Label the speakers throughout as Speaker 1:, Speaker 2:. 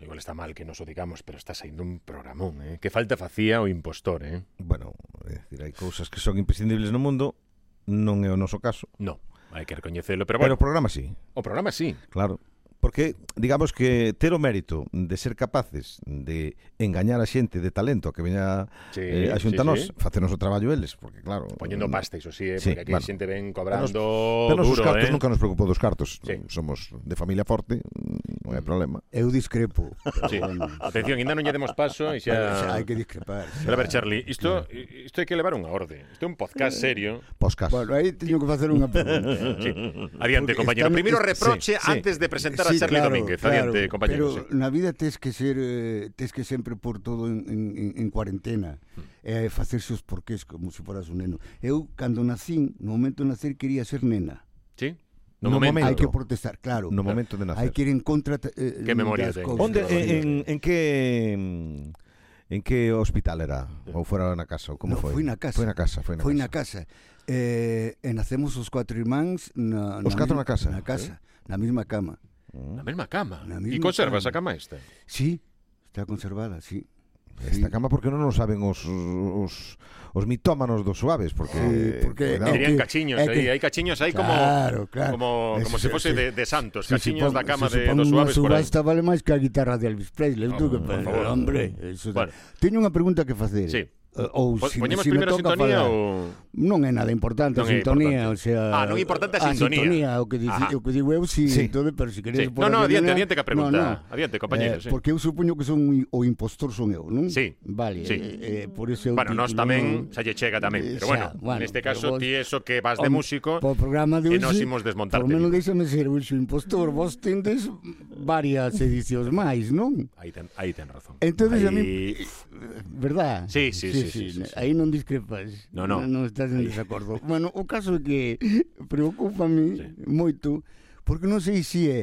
Speaker 1: igual está mal que nos o digamos, pero está saindo un programón, eh? Que falta facía o impostor, eh?
Speaker 2: Bueno, é dicir, hai cousas que son imprescindibles no mundo, non é o noso caso.
Speaker 1: No, hai que recoñecelo, pero
Speaker 2: Pero
Speaker 1: bueno,
Speaker 2: o programa sí,
Speaker 1: o programa sí.
Speaker 2: claro. Porque, digamos que ter o mérito de ser capaces de engañar a xente de talento que veña
Speaker 1: Sí,
Speaker 2: eh, a
Speaker 1: sí, sí.
Speaker 2: xuntanos, facernos o traballo eles, porque claro...
Speaker 1: Poñendo pasta, iso sí, eh?
Speaker 2: Sí,
Speaker 1: porque aquí
Speaker 2: bueno.
Speaker 1: xente ven cobrando
Speaker 2: Pero nos os
Speaker 1: duro,
Speaker 2: cartos
Speaker 1: eh?
Speaker 2: nunca nos preocupou dos cartos.
Speaker 1: Sí. Mm.
Speaker 2: Somos de familia forte, mm, non hai problema.
Speaker 3: Eu discrepo. pero
Speaker 1: Sí.
Speaker 3: bueno,
Speaker 1: Atención, ainda non lle demos paso e
Speaker 3: pero xa
Speaker 1: xa...
Speaker 3: hai que discrepar. xa.
Speaker 1: Pero a ver, Charlie, isto, isto hai que levar unha orde. Isto é un
Speaker 3: Eh.
Speaker 1: podcast serio.
Speaker 2: Podcast.
Speaker 3: Bueno, aí teño que facer unha pregunta.
Speaker 1: Sí. Adiante,
Speaker 3: Porque
Speaker 1: compañero.
Speaker 3: estamos-
Speaker 1: Primeiro
Speaker 3: sí,
Speaker 1: reproche
Speaker 2: sí.
Speaker 1: antes de presentar a
Speaker 3: Sí,
Speaker 1: Charlie
Speaker 3: claro,
Speaker 1: Domínguez.
Speaker 3: claro,
Speaker 1: Adiante, compañero.
Speaker 3: Pero
Speaker 1: sí.
Speaker 3: na vida tes que ser eh, tes que sempre por todo en, en, en- en cuarentena.
Speaker 1: Mm.
Speaker 3: Eh, facerse os porqués como se foras un neno. Eu, cando nacín, no momento de nacer, quería ser nena.
Speaker 1: Sí? No,
Speaker 2: No
Speaker 1: momento.
Speaker 2: momento.
Speaker 3: Hai que protestar, claro.
Speaker 2: no momento de nacer.
Speaker 3: Hai que ir en contra eh,
Speaker 1: Que memoria ten.
Speaker 3: das cousas.
Speaker 2: Onde en, en, en que en que hospital era? Ou fora na casa? Ou como
Speaker 3: No,
Speaker 2: foi?
Speaker 3: foi na casa.
Speaker 2: Foi na casa, foi na
Speaker 3: Foi
Speaker 2: casa.
Speaker 3: na casa. Eh, e nacemos os cuatro irmáns na,
Speaker 2: Os catro
Speaker 3: mi-
Speaker 2: na casa,
Speaker 3: Na casa, na mesma cama.
Speaker 1: Na mesma cama.
Speaker 3: Na
Speaker 1: E
Speaker 3: mesma
Speaker 1: conservas a
Speaker 3: cama.
Speaker 1: cama esta.
Speaker 3: Sí, está conservada, sí.
Speaker 2: Esta cama porque non o saben os, os, os mitómanos dos suaves porque,
Speaker 3: Sí, porque-
Speaker 2: cuidado.
Speaker 3: Eh,
Speaker 1: Dirían
Speaker 3: que-
Speaker 1: cachiños
Speaker 3: é
Speaker 1: aí.
Speaker 3: que-
Speaker 1: Hai cachiños aí como...
Speaker 3: Claro, claro.
Speaker 1: Como, como se
Speaker 3: Eso sí,
Speaker 1: fose
Speaker 3: sí.
Speaker 1: de, de santos,
Speaker 3: Sí,
Speaker 1: cachiños
Speaker 3: supongo-
Speaker 1: da cama
Speaker 3: se
Speaker 1: de
Speaker 3: supongo
Speaker 1: dos
Speaker 3: unha
Speaker 1: suaves por aí.
Speaker 3: subasta vale máis que a guitarra de Elvis Presley, oh, que,
Speaker 1: por favor.
Speaker 3: por favor, hombre, eso da-
Speaker 1: Bueno.
Speaker 3: Teño unha pregunta que facer.
Speaker 1: Sí.
Speaker 3: Eh, Ou
Speaker 1: Po-
Speaker 3: se,
Speaker 1: Poñemos
Speaker 3: se me
Speaker 1: primeiro a
Speaker 3: toca
Speaker 1: sintonía
Speaker 3: falar.
Speaker 1: ou...
Speaker 3: Non é nada importante a
Speaker 1: Non é importante.
Speaker 3: sintonía, o sea...
Speaker 1: Ah, non é importante a sintonía.
Speaker 3: o que, dice,
Speaker 1: Ajá.
Speaker 3: o que digo eu, si,
Speaker 2: Sí.
Speaker 3: sí. entonces, pero
Speaker 1: Sí.
Speaker 3: se queres...
Speaker 1: No, no, adiante, adiante que a pregunta. Adiante, compañero,
Speaker 3: eh,
Speaker 1: sí.
Speaker 3: Porque eu supoño que son i- o impostor son eu, non?
Speaker 1: Sí.
Speaker 3: Vale,
Speaker 1: Sí.
Speaker 3: eh, eh, por eso... eu
Speaker 1: Bueno, nos
Speaker 3: titulo-
Speaker 1: tamén xa lle chega tamén, pero
Speaker 3: Xa,
Speaker 1: bueno,
Speaker 3: bueno,
Speaker 1: neste
Speaker 3: pero
Speaker 1: caso
Speaker 3: vos-
Speaker 1: ti eso que vas de
Speaker 3: Hom-
Speaker 1: músico,
Speaker 3: Para o programa de
Speaker 1: e
Speaker 3: hoxe,
Speaker 1: nós imos desmontarte,
Speaker 3: Por menos
Speaker 1: digo.
Speaker 3: déxame ser o seu impostor, vos tendes varias edicións máis, non?
Speaker 1: aí ten, aí ten razón.
Speaker 3: Entonces a mí-
Speaker 1: Aí-
Speaker 3: Verdad?
Speaker 1: Sí, sí, sí, sí, sí, sí.
Speaker 3: Aí non discrepas.
Speaker 1: No, no.
Speaker 3: Non estás en
Speaker 1: Aí.
Speaker 3: desacordo. bueno, o caso é que preocupame
Speaker 1: Sí.
Speaker 3: sí. moito porque non sei se é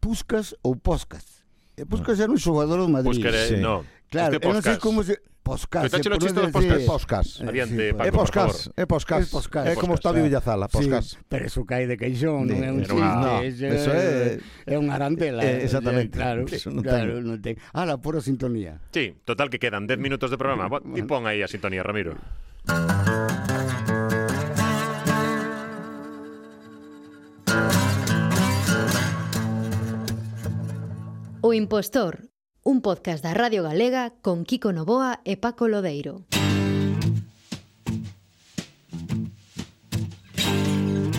Speaker 3: Puscas ou Poscas. E Puscas Eh, era un xogador do Madrid.
Speaker 1: Buscar, Ah. eh,
Speaker 2: Sí.
Speaker 1: no.
Speaker 3: Claro,
Speaker 1: Este
Speaker 3: eu non
Speaker 1: podcast.
Speaker 3: sei como se Poscas.
Speaker 1: Pero tache los chistes dos
Speaker 2: É
Speaker 1: poscas.
Speaker 2: podcast.
Speaker 3: Eh,
Speaker 1: Adiante,
Speaker 3: sí,
Speaker 1: Paco,
Speaker 2: É
Speaker 3: Eh,
Speaker 1: por
Speaker 2: podcast,
Speaker 1: favor.
Speaker 2: é podcast.
Speaker 3: É podcast.
Speaker 2: É
Speaker 1: Podcast,
Speaker 2: como está
Speaker 1: ah.
Speaker 2: Villazala, podcast.
Speaker 3: Sí, pero eso cae de queixón, non é un
Speaker 2: Era
Speaker 3: chiste,
Speaker 1: unha-
Speaker 2: No,
Speaker 3: ese
Speaker 2: eso é-
Speaker 3: é unha arandela.
Speaker 2: Eh, exactamente.
Speaker 3: Claro,
Speaker 2: Eso non ten-
Speaker 3: claro, non ten. Ah, la pura sintonía.
Speaker 1: Sí, total que quedan 10 minutos de programa. Bo- Ti pon aí a sintonía, Ramiro.
Speaker 4: O Impostor, un podcast da Radio Galega con Kiko Novoa e Paco Lodeiro.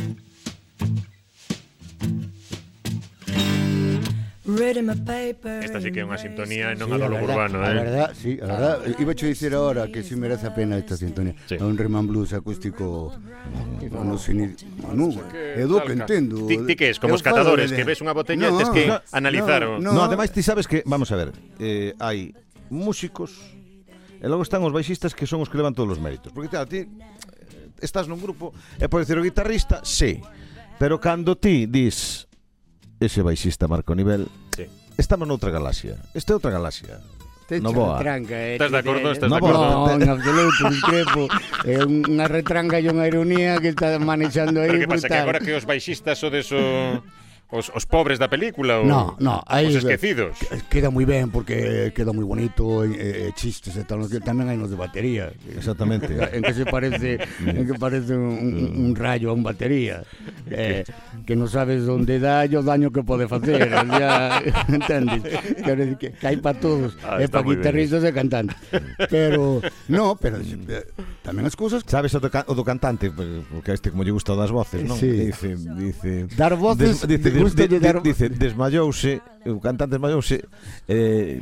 Speaker 1: Esta
Speaker 5: Esta
Speaker 1: sí que é unha sintonía e non
Speaker 3: Sí,
Speaker 1: a do
Speaker 3: a
Speaker 1: lobo
Speaker 3: verdad,
Speaker 1: urbano,
Speaker 3: A
Speaker 1: eh.
Speaker 3: verdad, sí, a verdad. Iba a dicir ahora que sí merece a pena esta sintonía.
Speaker 1: Sí.
Speaker 3: É un reman blues acústico. Bueno, sin ir, Manu, é do que entendo.
Speaker 1: Ti, ti que es, como os catadores, que ves unha botella no, tes que
Speaker 2: no,
Speaker 1: analizar. o-
Speaker 3: no.
Speaker 2: No, ademais ti sabes que, vamos a ver, eh, hai músicos e logo están os baixistas que son os que levan todos os méritos. Porque claro, ti eh, estás nun grupo e por decir o guitarrista, sí. Pero cando ti dis ese baixista marco nivel,
Speaker 1: Sí.
Speaker 2: estamos noutra galaxia. Esta é outra galaxia. No boa.
Speaker 3: Retranca, eh,
Speaker 1: Estás de acordo, estás
Speaker 2: de acordo.
Speaker 3: No, en absoluto, discrepo. É unha retranca e unha ironía que está manexando aí.
Speaker 1: Pero que pasa que
Speaker 3: brutal.
Speaker 1: agora que os baixistas o deso os, os pobres da película o
Speaker 3: No, no, aí
Speaker 1: os esquecidos.
Speaker 3: que- Eh, Queda moi ben porque queda moi bonito, eh, eh, chistes e tal, no que tamén hai nos de batería.
Speaker 2: Exactamente.
Speaker 3: en que se parece en que parece un, un- un rayo a un batería eh, que non sabes onde dá e o daño que pode facer ya, entendes Quero dicir que, que hai para todos
Speaker 1: Ah,
Speaker 3: é
Speaker 1: está
Speaker 3: para
Speaker 1: moi ben
Speaker 3: guitarristas e cantantes pero no pero eh, tamén as cousas
Speaker 2: Sabes o do, ca- o do cantante, porque a este como lle gusta o das voces, non?
Speaker 3: Sí.
Speaker 2: Dice, dice...
Speaker 3: Dar voces,
Speaker 2: dice,
Speaker 3: gusta de dar-
Speaker 2: dice, desmayouse, o cantante desmayouse, eh,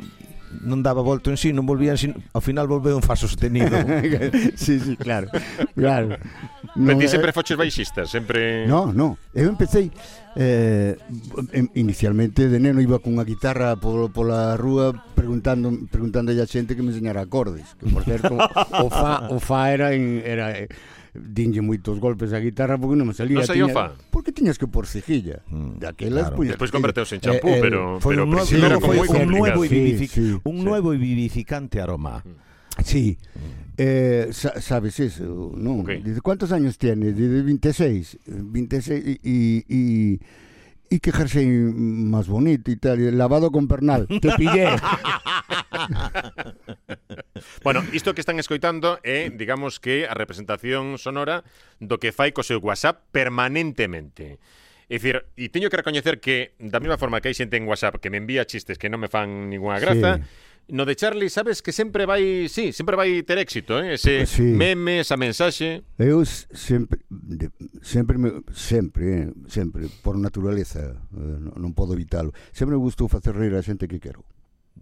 Speaker 2: non daba volto en sí, non volvía en sí, ao final volveu un fa sostenido.
Speaker 3: sí, sí, claro claro
Speaker 1: Pero
Speaker 3: Non,
Speaker 1: ti
Speaker 3: eh,
Speaker 1: sempre foches baixista, sempre
Speaker 3: No, no, eu empecé eh, em- inicialmente de neno iba cunha guitarra por, pola rúa preguntando preguntando a xente que me enseñara acordes, que por certo o fa o fa era en, era eh, dinlle moitos golpes á guitarra porque non me salía.
Speaker 1: Non saía o
Speaker 3: tiña-
Speaker 1: fa?
Speaker 3: Porque tiñas que por cejilla.
Speaker 2: Mm,
Speaker 3: Daquelas
Speaker 2: claro.
Speaker 3: puñas
Speaker 1: Despois
Speaker 3: cejilla.
Speaker 1: converteuse en champú,
Speaker 3: Eh, eh,
Speaker 1: pero
Speaker 2: Foi
Speaker 1: pero
Speaker 2: un
Speaker 1: ao
Speaker 2: nuevo,
Speaker 1: principio
Speaker 3: sí,
Speaker 1: era
Speaker 2: luego
Speaker 1: como moi
Speaker 2: foi un
Speaker 1: complicado.
Speaker 2: nuevo, y
Speaker 3: Sí,
Speaker 2: vivific-
Speaker 3: sí,
Speaker 2: un
Speaker 3: sí.
Speaker 2: nuevo y vivificante aroma.
Speaker 3: Sí. Eh, sa- sabes eso,
Speaker 1: Mm.
Speaker 3: ¿no?
Speaker 1: Ok.
Speaker 3: Dice, ¿cuántos años tienes? Dice, 26. eh, 26 y, y, y, e que jersey máis bonito e tal, e lavado con pernal. Te pillé.
Speaker 1: Bueno, isto que están escoitando é, digamos que, a representación sonora do que fai co seu WhatsApp permanentemente. É dicir, e teño que recoñecer que, da mesma forma que hai xente en WhatsApp que me envía chistes que non me fan ninguna graza, sí. no de Charlie, sabes que sempre vai, sí, sempre vai ter éxito, eh? ese
Speaker 3: Sí.
Speaker 1: sí. meme, esa mensaxe.
Speaker 3: Eu s- sempre de, sempre me, sempre, eh, sempre por naturaleza, eh, non, non podo evitalo. Sempre me gustou facer rir a xente que quero.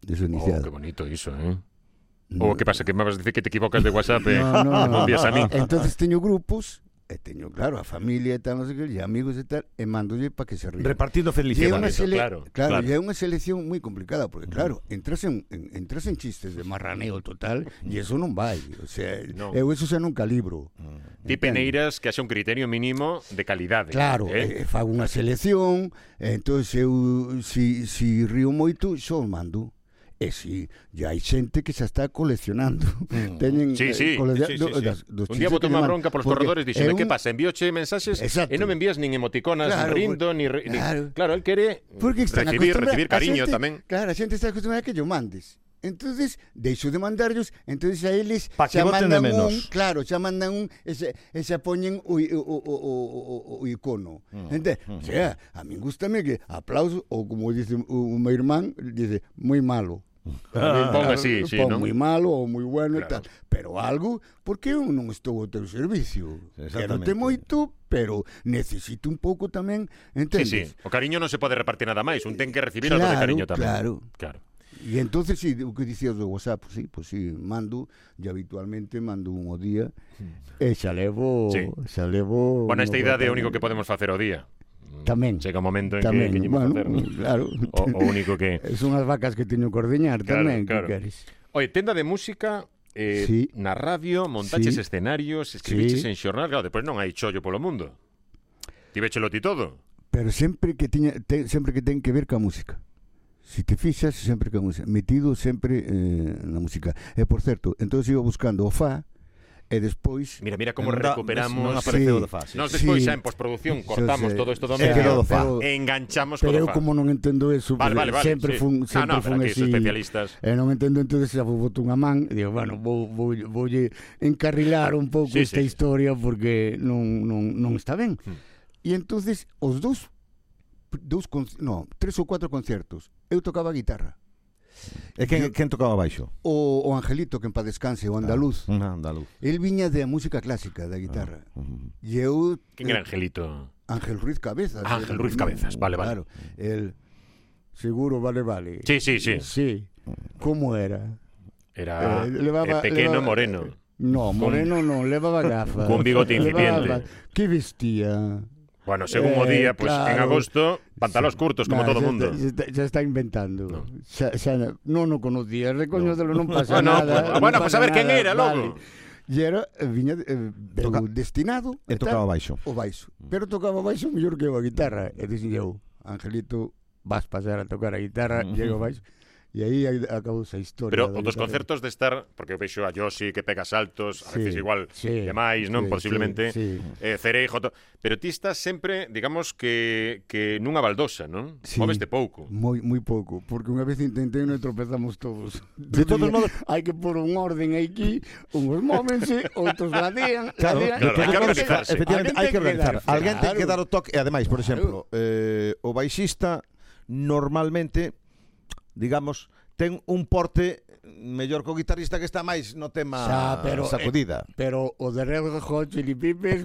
Speaker 3: Eso
Speaker 1: Oh, que
Speaker 3: iniciado.
Speaker 1: bonito iso, eh? Ou que pasa que me vas a dicir que te equivocas de WhatsApp e eh?
Speaker 3: No, no, no.
Speaker 1: envías a min.
Speaker 3: Entonces teño grupos e teño, claro, a familia e tal, non sei que, e amigos e tal, e mandolle para que se rían.
Speaker 6: Repartindo
Speaker 3: E é
Speaker 6: felicidade.
Speaker 3: unha
Speaker 1: bonito,
Speaker 3: sele...
Speaker 1: claro,
Speaker 3: claro,
Speaker 1: claro.
Speaker 3: e é unha selección moi complicada, porque claro, entras en, en, entras en chistes de marraneo total e eso non vai, o sea,
Speaker 1: Non.
Speaker 3: eu eso xa non calibro.
Speaker 1: Ti peneiras que haxa un criterio mínimo de calidade.
Speaker 3: Claro,
Speaker 1: eh?
Speaker 3: eh? fago unha selección, eh, entón eu si, si río moito, xo os mando. E si, ya hai xente que xa está coleccionando. Teñen
Speaker 1: Sí, sí,
Speaker 3: eh, colec-
Speaker 1: sí, sí,
Speaker 3: do-
Speaker 1: sí.
Speaker 3: das- dos
Speaker 1: un día
Speaker 3: chistes
Speaker 1: botou
Speaker 3: que
Speaker 1: unha
Speaker 3: llaman,
Speaker 1: bronca polos
Speaker 3: porque
Speaker 1: corredores
Speaker 3: é
Speaker 1: dixeme,
Speaker 3: un-
Speaker 1: que pasa? Envíoche mensajes
Speaker 3: Exacto.
Speaker 1: e non me envías nin emoticonas,
Speaker 3: Claro,
Speaker 1: claro, rindo, ni, re- ni...
Speaker 3: claro.
Speaker 1: Claro, el quere
Speaker 3: Porque están
Speaker 1: recibir,
Speaker 3: acostumbrados-
Speaker 1: recibir
Speaker 3: a
Speaker 1: cariño
Speaker 3: xente-
Speaker 1: tamén.
Speaker 3: Claro, a xente está acostumbrada a que yo mandes. Entonces, deixo de mandarlos, entonces a eles
Speaker 6: Pa que
Speaker 3: xa
Speaker 6: voten de
Speaker 3: mandan
Speaker 6: menos.
Speaker 3: un, claro, xa mandan un, e xa, e xa poñen o, i- o, o, o, o, o- o icono.
Speaker 6: Mm,
Speaker 3: Ente, o sea, a min gustame que aplauso, ou como dice o, o meu irmán, dice, moi malo.
Speaker 1: Pon así, Ah, sí,
Speaker 3: pon
Speaker 1: non?
Speaker 3: moi malo ou moi bueno
Speaker 1: Claro.
Speaker 3: e tal. Pero algo, porque eu non estou ao teu servicio.
Speaker 6: Exactamente.
Speaker 3: Quérote moito, pero necesito un pouco tamén,
Speaker 1: Sí,
Speaker 3: entendes?
Speaker 1: sí. O cariño non se pode repartir nada máis, un ten que recibir claro, outro de
Speaker 3: Claro,
Speaker 1: cariño tamén.
Speaker 3: claro.
Speaker 1: claro.
Speaker 3: E entonces, si, o que dicías do WhatsApp, pues, sí, pues sí, mando, e habitualmente mando un ao día, Eh, e xa levo,
Speaker 1: Sí.
Speaker 3: sí. xa levo...
Speaker 1: Bueno, esta
Speaker 3: unha
Speaker 1: idade é o
Speaker 3: boa
Speaker 1: único que podemos facer o día.
Speaker 3: Tamén.
Speaker 1: Chega o momento en
Speaker 3: Tamén,
Speaker 1: que, que
Speaker 3: bueno,
Speaker 1: bueno, facer, non?
Speaker 3: claro.
Speaker 1: O, o único que...
Speaker 3: Son as vacas que teño que ordeñar
Speaker 1: Claro,
Speaker 3: tamén,
Speaker 1: claro.
Speaker 3: que queres.
Speaker 1: Oye, tenda de música, eh,
Speaker 3: Sí.
Speaker 1: na radio, montaches
Speaker 3: Sí.
Speaker 1: escenarios, escribiches
Speaker 3: Sí.
Speaker 1: en xornal, claro, depois non hai chollo polo mundo. Tivechelo ti todo.
Speaker 3: Pero sempre que tiña, te, sempre que ten que ver ca música. Si te fixas, sempre ca música. Metido sempre eh, na música. E, por certo, entón iba buscando o fa, e despois...
Speaker 1: Mira, mira como
Speaker 6: Non da- Non
Speaker 1: recuperamos...
Speaker 6: apareceu
Speaker 3: Sí.
Speaker 6: da fase.
Speaker 1: Nos
Speaker 3: Sí.
Speaker 1: despois xa en postproducción cortamos
Speaker 3: Yo sé,
Speaker 1: todo isto do
Speaker 3: xa,
Speaker 6: medio. quedou do fa.
Speaker 3: pero-
Speaker 1: e enganchamos
Speaker 3: Pero
Speaker 1: co
Speaker 3: eu
Speaker 1: do fa.
Speaker 3: como non entendo eso,
Speaker 1: Vale, vale, vale.
Speaker 3: sempre
Speaker 1: sí.
Speaker 3: fun,
Speaker 1: ah, no,
Speaker 3: sempre fun
Speaker 1: pero aquí
Speaker 3: así.
Speaker 1: son especialistas.
Speaker 3: E non entendo, entonces xa vou botar unha man e digo, bueno, vou, vou, vou encarrilar un pouco
Speaker 1: Sí,
Speaker 3: sí, esta
Speaker 1: sí, sí.
Speaker 3: sí. historia porque non, non, non está ben.
Speaker 1: Hmm.
Speaker 3: Hmm. E entonces os dous dous con, no, tres ou cuatro concertos. Eu tocaba a guitarra.
Speaker 6: E quen, quen tocaba baixo?
Speaker 3: O, o Angelito, que en paz descanse,
Speaker 2: Ah,
Speaker 3: o andaluz.
Speaker 1: Ah. Mm.
Speaker 6: Un andaluz.
Speaker 3: El viña de a música clásica, da guitarra. E eu...
Speaker 1: Quen era Angelito?
Speaker 3: Ángel Ruiz Cabezas.
Speaker 1: Ángel
Speaker 3: era
Speaker 1: Ruiz
Speaker 3: un-
Speaker 1: Cabezas, vale, vale.
Speaker 3: Claro, el... Seguro, vale, vale.
Speaker 1: Sí, sí, sí.
Speaker 3: Sí. Como era?
Speaker 1: Era
Speaker 3: Eh, levaba-
Speaker 1: eh, pequeno
Speaker 3: levaba-
Speaker 1: moreno.
Speaker 3: No, Moreno non, levaba gafas.
Speaker 1: Con bigote incipiente.
Speaker 3: Levaba- Que vestía?
Speaker 1: Bueno, según o
Speaker 3: eh,
Speaker 1: día, pues en
Speaker 3: claro.
Speaker 1: agosto, pantalóns curtos como
Speaker 3: Nah,
Speaker 1: todo o
Speaker 3: xa
Speaker 1: mundo.
Speaker 3: Está, xa, está, xa está inventando.
Speaker 1: No.
Speaker 3: No. Xa, xa, non o conocía, recoñézelo, non pasa
Speaker 1: Bueno,
Speaker 3: nada.
Speaker 1: Ah, pues-
Speaker 3: non
Speaker 1: bueno, pues a
Speaker 3: pasa
Speaker 1: ver quen
Speaker 3: nada,
Speaker 1: era, logo.
Speaker 3: E era, eh, viña, de- eh, veu
Speaker 6: Toca-
Speaker 3: destinado
Speaker 6: E
Speaker 3: e tal,
Speaker 6: tocaba baixo.
Speaker 3: o baixo.
Speaker 1: Mm.
Speaker 3: Pero tocaba baixo mellor que eu a guitarra. E dixen eu, Angelito, vas pasar a tocar a guitarra,
Speaker 6: Mm.
Speaker 3: llego baixo. E aí ai- acabou esa historia.
Speaker 1: Pero o
Speaker 3: da
Speaker 1: dos
Speaker 3: guitarra.
Speaker 1: concertos de estar, porque eu vexo a Josi que pega saltos, a veces
Speaker 3: Sí,
Speaker 1: igual
Speaker 3: sí,
Speaker 1: demais, non?
Speaker 3: sí,
Speaker 1: Posiblemente
Speaker 3: Sí, sí.
Speaker 1: eh, Cereijo, to... pero ti estás sempre, digamos que que nunha baldosa, non?
Speaker 3: Sí.
Speaker 1: Moveste pouco.
Speaker 3: Moi, moi pouco, porque unha vez intentei e non tropezamos todos.
Speaker 6: De todos modos-
Speaker 3: hai que pôr un orden aquí, unos móvense, outros ladean,
Speaker 6: Claro,
Speaker 3: ladean.
Speaker 1: claro, hai que
Speaker 3: alguén
Speaker 1: organizarse.
Speaker 3: ten-
Speaker 6: Efectivamente,
Speaker 3: alguén
Speaker 6: hai
Speaker 3: ten
Speaker 6: que organizar.
Speaker 3: darse,
Speaker 6: Alguén ten que dar o
Speaker 3: claro.
Speaker 6: toque. E ademais, por exemplo, eh, o baixista normalmente, digamos, ten un porte mellor co guitarrista que está máis no tema
Speaker 3: Xa, pero, eh,
Speaker 6: sacudida.
Speaker 3: Pero o de Red Hot Chili Peppers,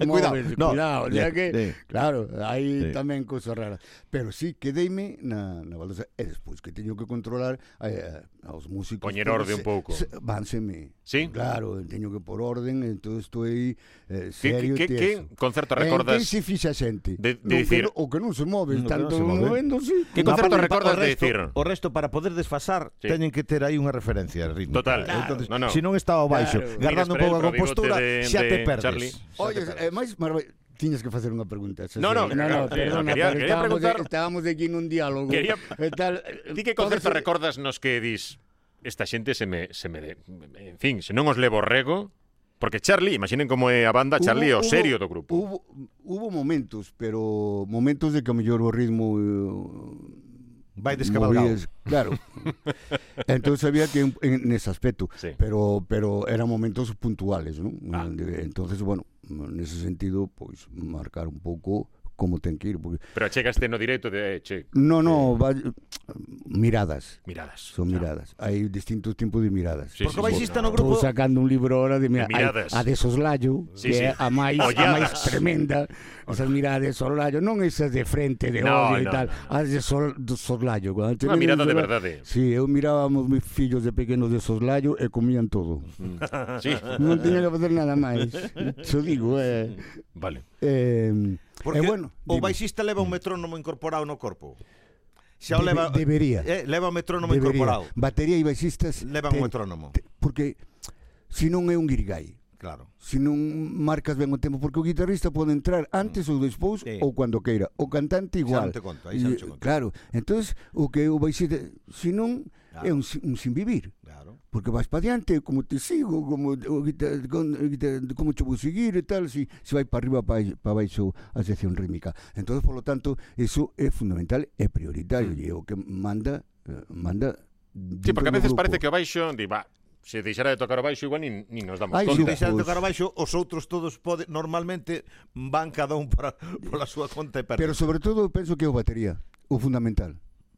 Speaker 6: Eh, cuidado,
Speaker 3: móvense,
Speaker 6: no,
Speaker 3: cuidado. o sea
Speaker 6: sí,
Speaker 3: que,
Speaker 6: sí.
Speaker 3: Claro, hai
Speaker 6: Sí.
Speaker 3: tamén cousas raras. Pero sí, quedeime na, na baldosa. E despois que teño que controlar eh, aos músicos.
Speaker 1: Poñer
Speaker 3: porque
Speaker 1: orde un
Speaker 3: se-
Speaker 1: pouco.
Speaker 3: se- Vánseme.
Speaker 1: Sí?
Speaker 3: Claro, teño que por orden, entón estou aí
Speaker 1: Que, que,
Speaker 3: eh, serio
Speaker 1: que,
Speaker 3: e
Speaker 1: que
Speaker 3: teso.
Speaker 1: concerto
Speaker 3: En que
Speaker 1: recordas?
Speaker 3: se fixa xente.
Speaker 1: de- de
Speaker 3: No, que
Speaker 1: dicir-
Speaker 3: no- o que non se move,
Speaker 6: No, que non
Speaker 3: tanto
Speaker 6: se move.
Speaker 3: movéndose.
Speaker 1: Que
Speaker 6: Unha
Speaker 1: concerto
Speaker 6: parte, o
Speaker 1: recordas de
Speaker 6: resto-
Speaker 1: dicir?
Speaker 6: O resto, para poder desfasar,
Speaker 1: Sí.
Speaker 6: teñen que ter aí unha referencia rítmica.
Speaker 1: Total. Claro.
Speaker 6: Entonces,
Speaker 1: No, no.
Speaker 6: Se non está ao baixo,
Speaker 3: Claro.
Speaker 6: guardando un
Speaker 1: Mira,
Speaker 6: pouco a
Speaker 1: espera, el
Speaker 6: compostura,
Speaker 1: bigote de-
Speaker 6: xa te
Speaker 1: de
Speaker 6: perdes.
Speaker 1: Charlie.
Speaker 6: Xa
Speaker 3: Oye, eh,
Speaker 6: te
Speaker 3: é máis maravilloso. Tiñes que facer unha pregunta. xa
Speaker 1: No,
Speaker 3: sei.
Speaker 1: no, claro, sí,
Speaker 3: perdona,
Speaker 1: quería-
Speaker 3: pero
Speaker 1: quería
Speaker 3: estábamos,
Speaker 1: preguntar-
Speaker 3: de, estábamos de aquí nun diálogo.
Speaker 1: Quería-
Speaker 3: e tal,
Speaker 1: Ti que
Speaker 3: todo
Speaker 1: concerto
Speaker 3: se-
Speaker 1: recordas nos que dis esta xente se me, se me, de- en fin, se non os levo rego, Porque Charlie, imaginen como é a banda, Charlie é o
Speaker 3: Hubo-
Speaker 1: serio
Speaker 3: hubo-
Speaker 1: do grupo.
Speaker 3: Hubo, hubo momentos, pero momentos de que a mellor o ritmo eh,
Speaker 6: Vai descabalgado.
Speaker 3: movías- Claro. Entonces había que en, en ese aspecto,
Speaker 1: Sí. Ah.
Speaker 3: pero pero eran momentos puntuales, ¿no? De- Entonces, bueno, en ese sentido, pues marcar un poco cómo ten que ir. porque-
Speaker 1: Pero chegaste no directo de, eh, che,
Speaker 3: No, no, va- miradas,
Speaker 1: miradas.
Speaker 3: son miradas. Hay distintos tipos de miradas.
Speaker 1: Sí,
Speaker 6: Porque o
Speaker 1: sí,
Speaker 6: baixista
Speaker 1: sí.
Speaker 6: no
Speaker 5: Estou
Speaker 6: grupo...
Speaker 5: sacando un libro ahora de, mira,
Speaker 1: De miradas.
Speaker 5: A, a de soslayo,
Speaker 1: Sí,
Speaker 5: que
Speaker 1: sí.
Speaker 5: é a máis, a
Speaker 1: Olladas.
Speaker 5: máis tremenda. Esas miradas de soslayo, non esas de frente, de
Speaker 1: No,
Speaker 5: odio e
Speaker 1: no,
Speaker 5: tal.
Speaker 1: no, no.
Speaker 3: Ah,
Speaker 5: As de sol, do soslayo. Cando
Speaker 1: Unha
Speaker 5: tenían
Speaker 1: mirada de
Speaker 5: soslayo-
Speaker 1: verdade.
Speaker 3: Sí, eu mirábamos mis fillos de pequenos de soslayo e comían todo.
Speaker 1: Mm. Sí.
Speaker 5: Non tiña que facer nada máis. Xo digo, eh,
Speaker 1: Vale.
Speaker 5: eh,
Speaker 3: Porque
Speaker 5: eh, bueno,
Speaker 3: o
Speaker 5: dime.
Speaker 6: baixista leva
Speaker 3: Mm.
Speaker 6: un metrónomo incorporado no corpo. Xa
Speaker 5: Debe- debería.
Speaker 6: Eh, leva un metrónomo
Speaker 5: debería.
Speaker 6: incorporado.
Speaker 3: Batería e baixistas
Speaker 6: Leva
Speaker 3: te-
Speaker 6: un metrónomo.
Speaker 3: te- porque se non é un guirigay.
Speaker 6: Claro.
Speaker 3: se non marcas ben o tempo, porque o guitarrista pode entrar antes ou despois
Speaker 6: Sí.
Speaker 3: ou cando queira. O cantante igual.
Speaker 6: non te conto, aí xa non
Speaker 3: E,
Speaker 6: te conto.
Speaker 3: Claro, entonces o que o baixista, se non
Speaker 6: Claro.
Speaker 3: é un, si- un sin vivir.
Speaker 6: Claro.
Speaker 3: Porque vas para diante, como te sigo, como o guita- con- o guita- como te vou seguir e tal, se, se vai para arriba, para, para baixo a sección rítmica. Entonces, por lo tanto, eso é fundamental, é prioritario, e é o que manda, eh, manda
Speaker 1: Mm. Sí, porque a veces parece que o baixo, di, va, se deixara de tocar o baixo igual nin, nin nos damos
Speaker 3: Ai,
Speaker 6: Se
Speaker 1: conta.
Speaker 3: sí,
Speaker 6: deixar de
Speaker 3: Pois-
Speaker 6: tocar abaixo, os outros todos pode, normalmente van cada un para, pola súa conta e perda.
Speaker 3: Pero sobre todo eu penso que é o batería, o fundamental.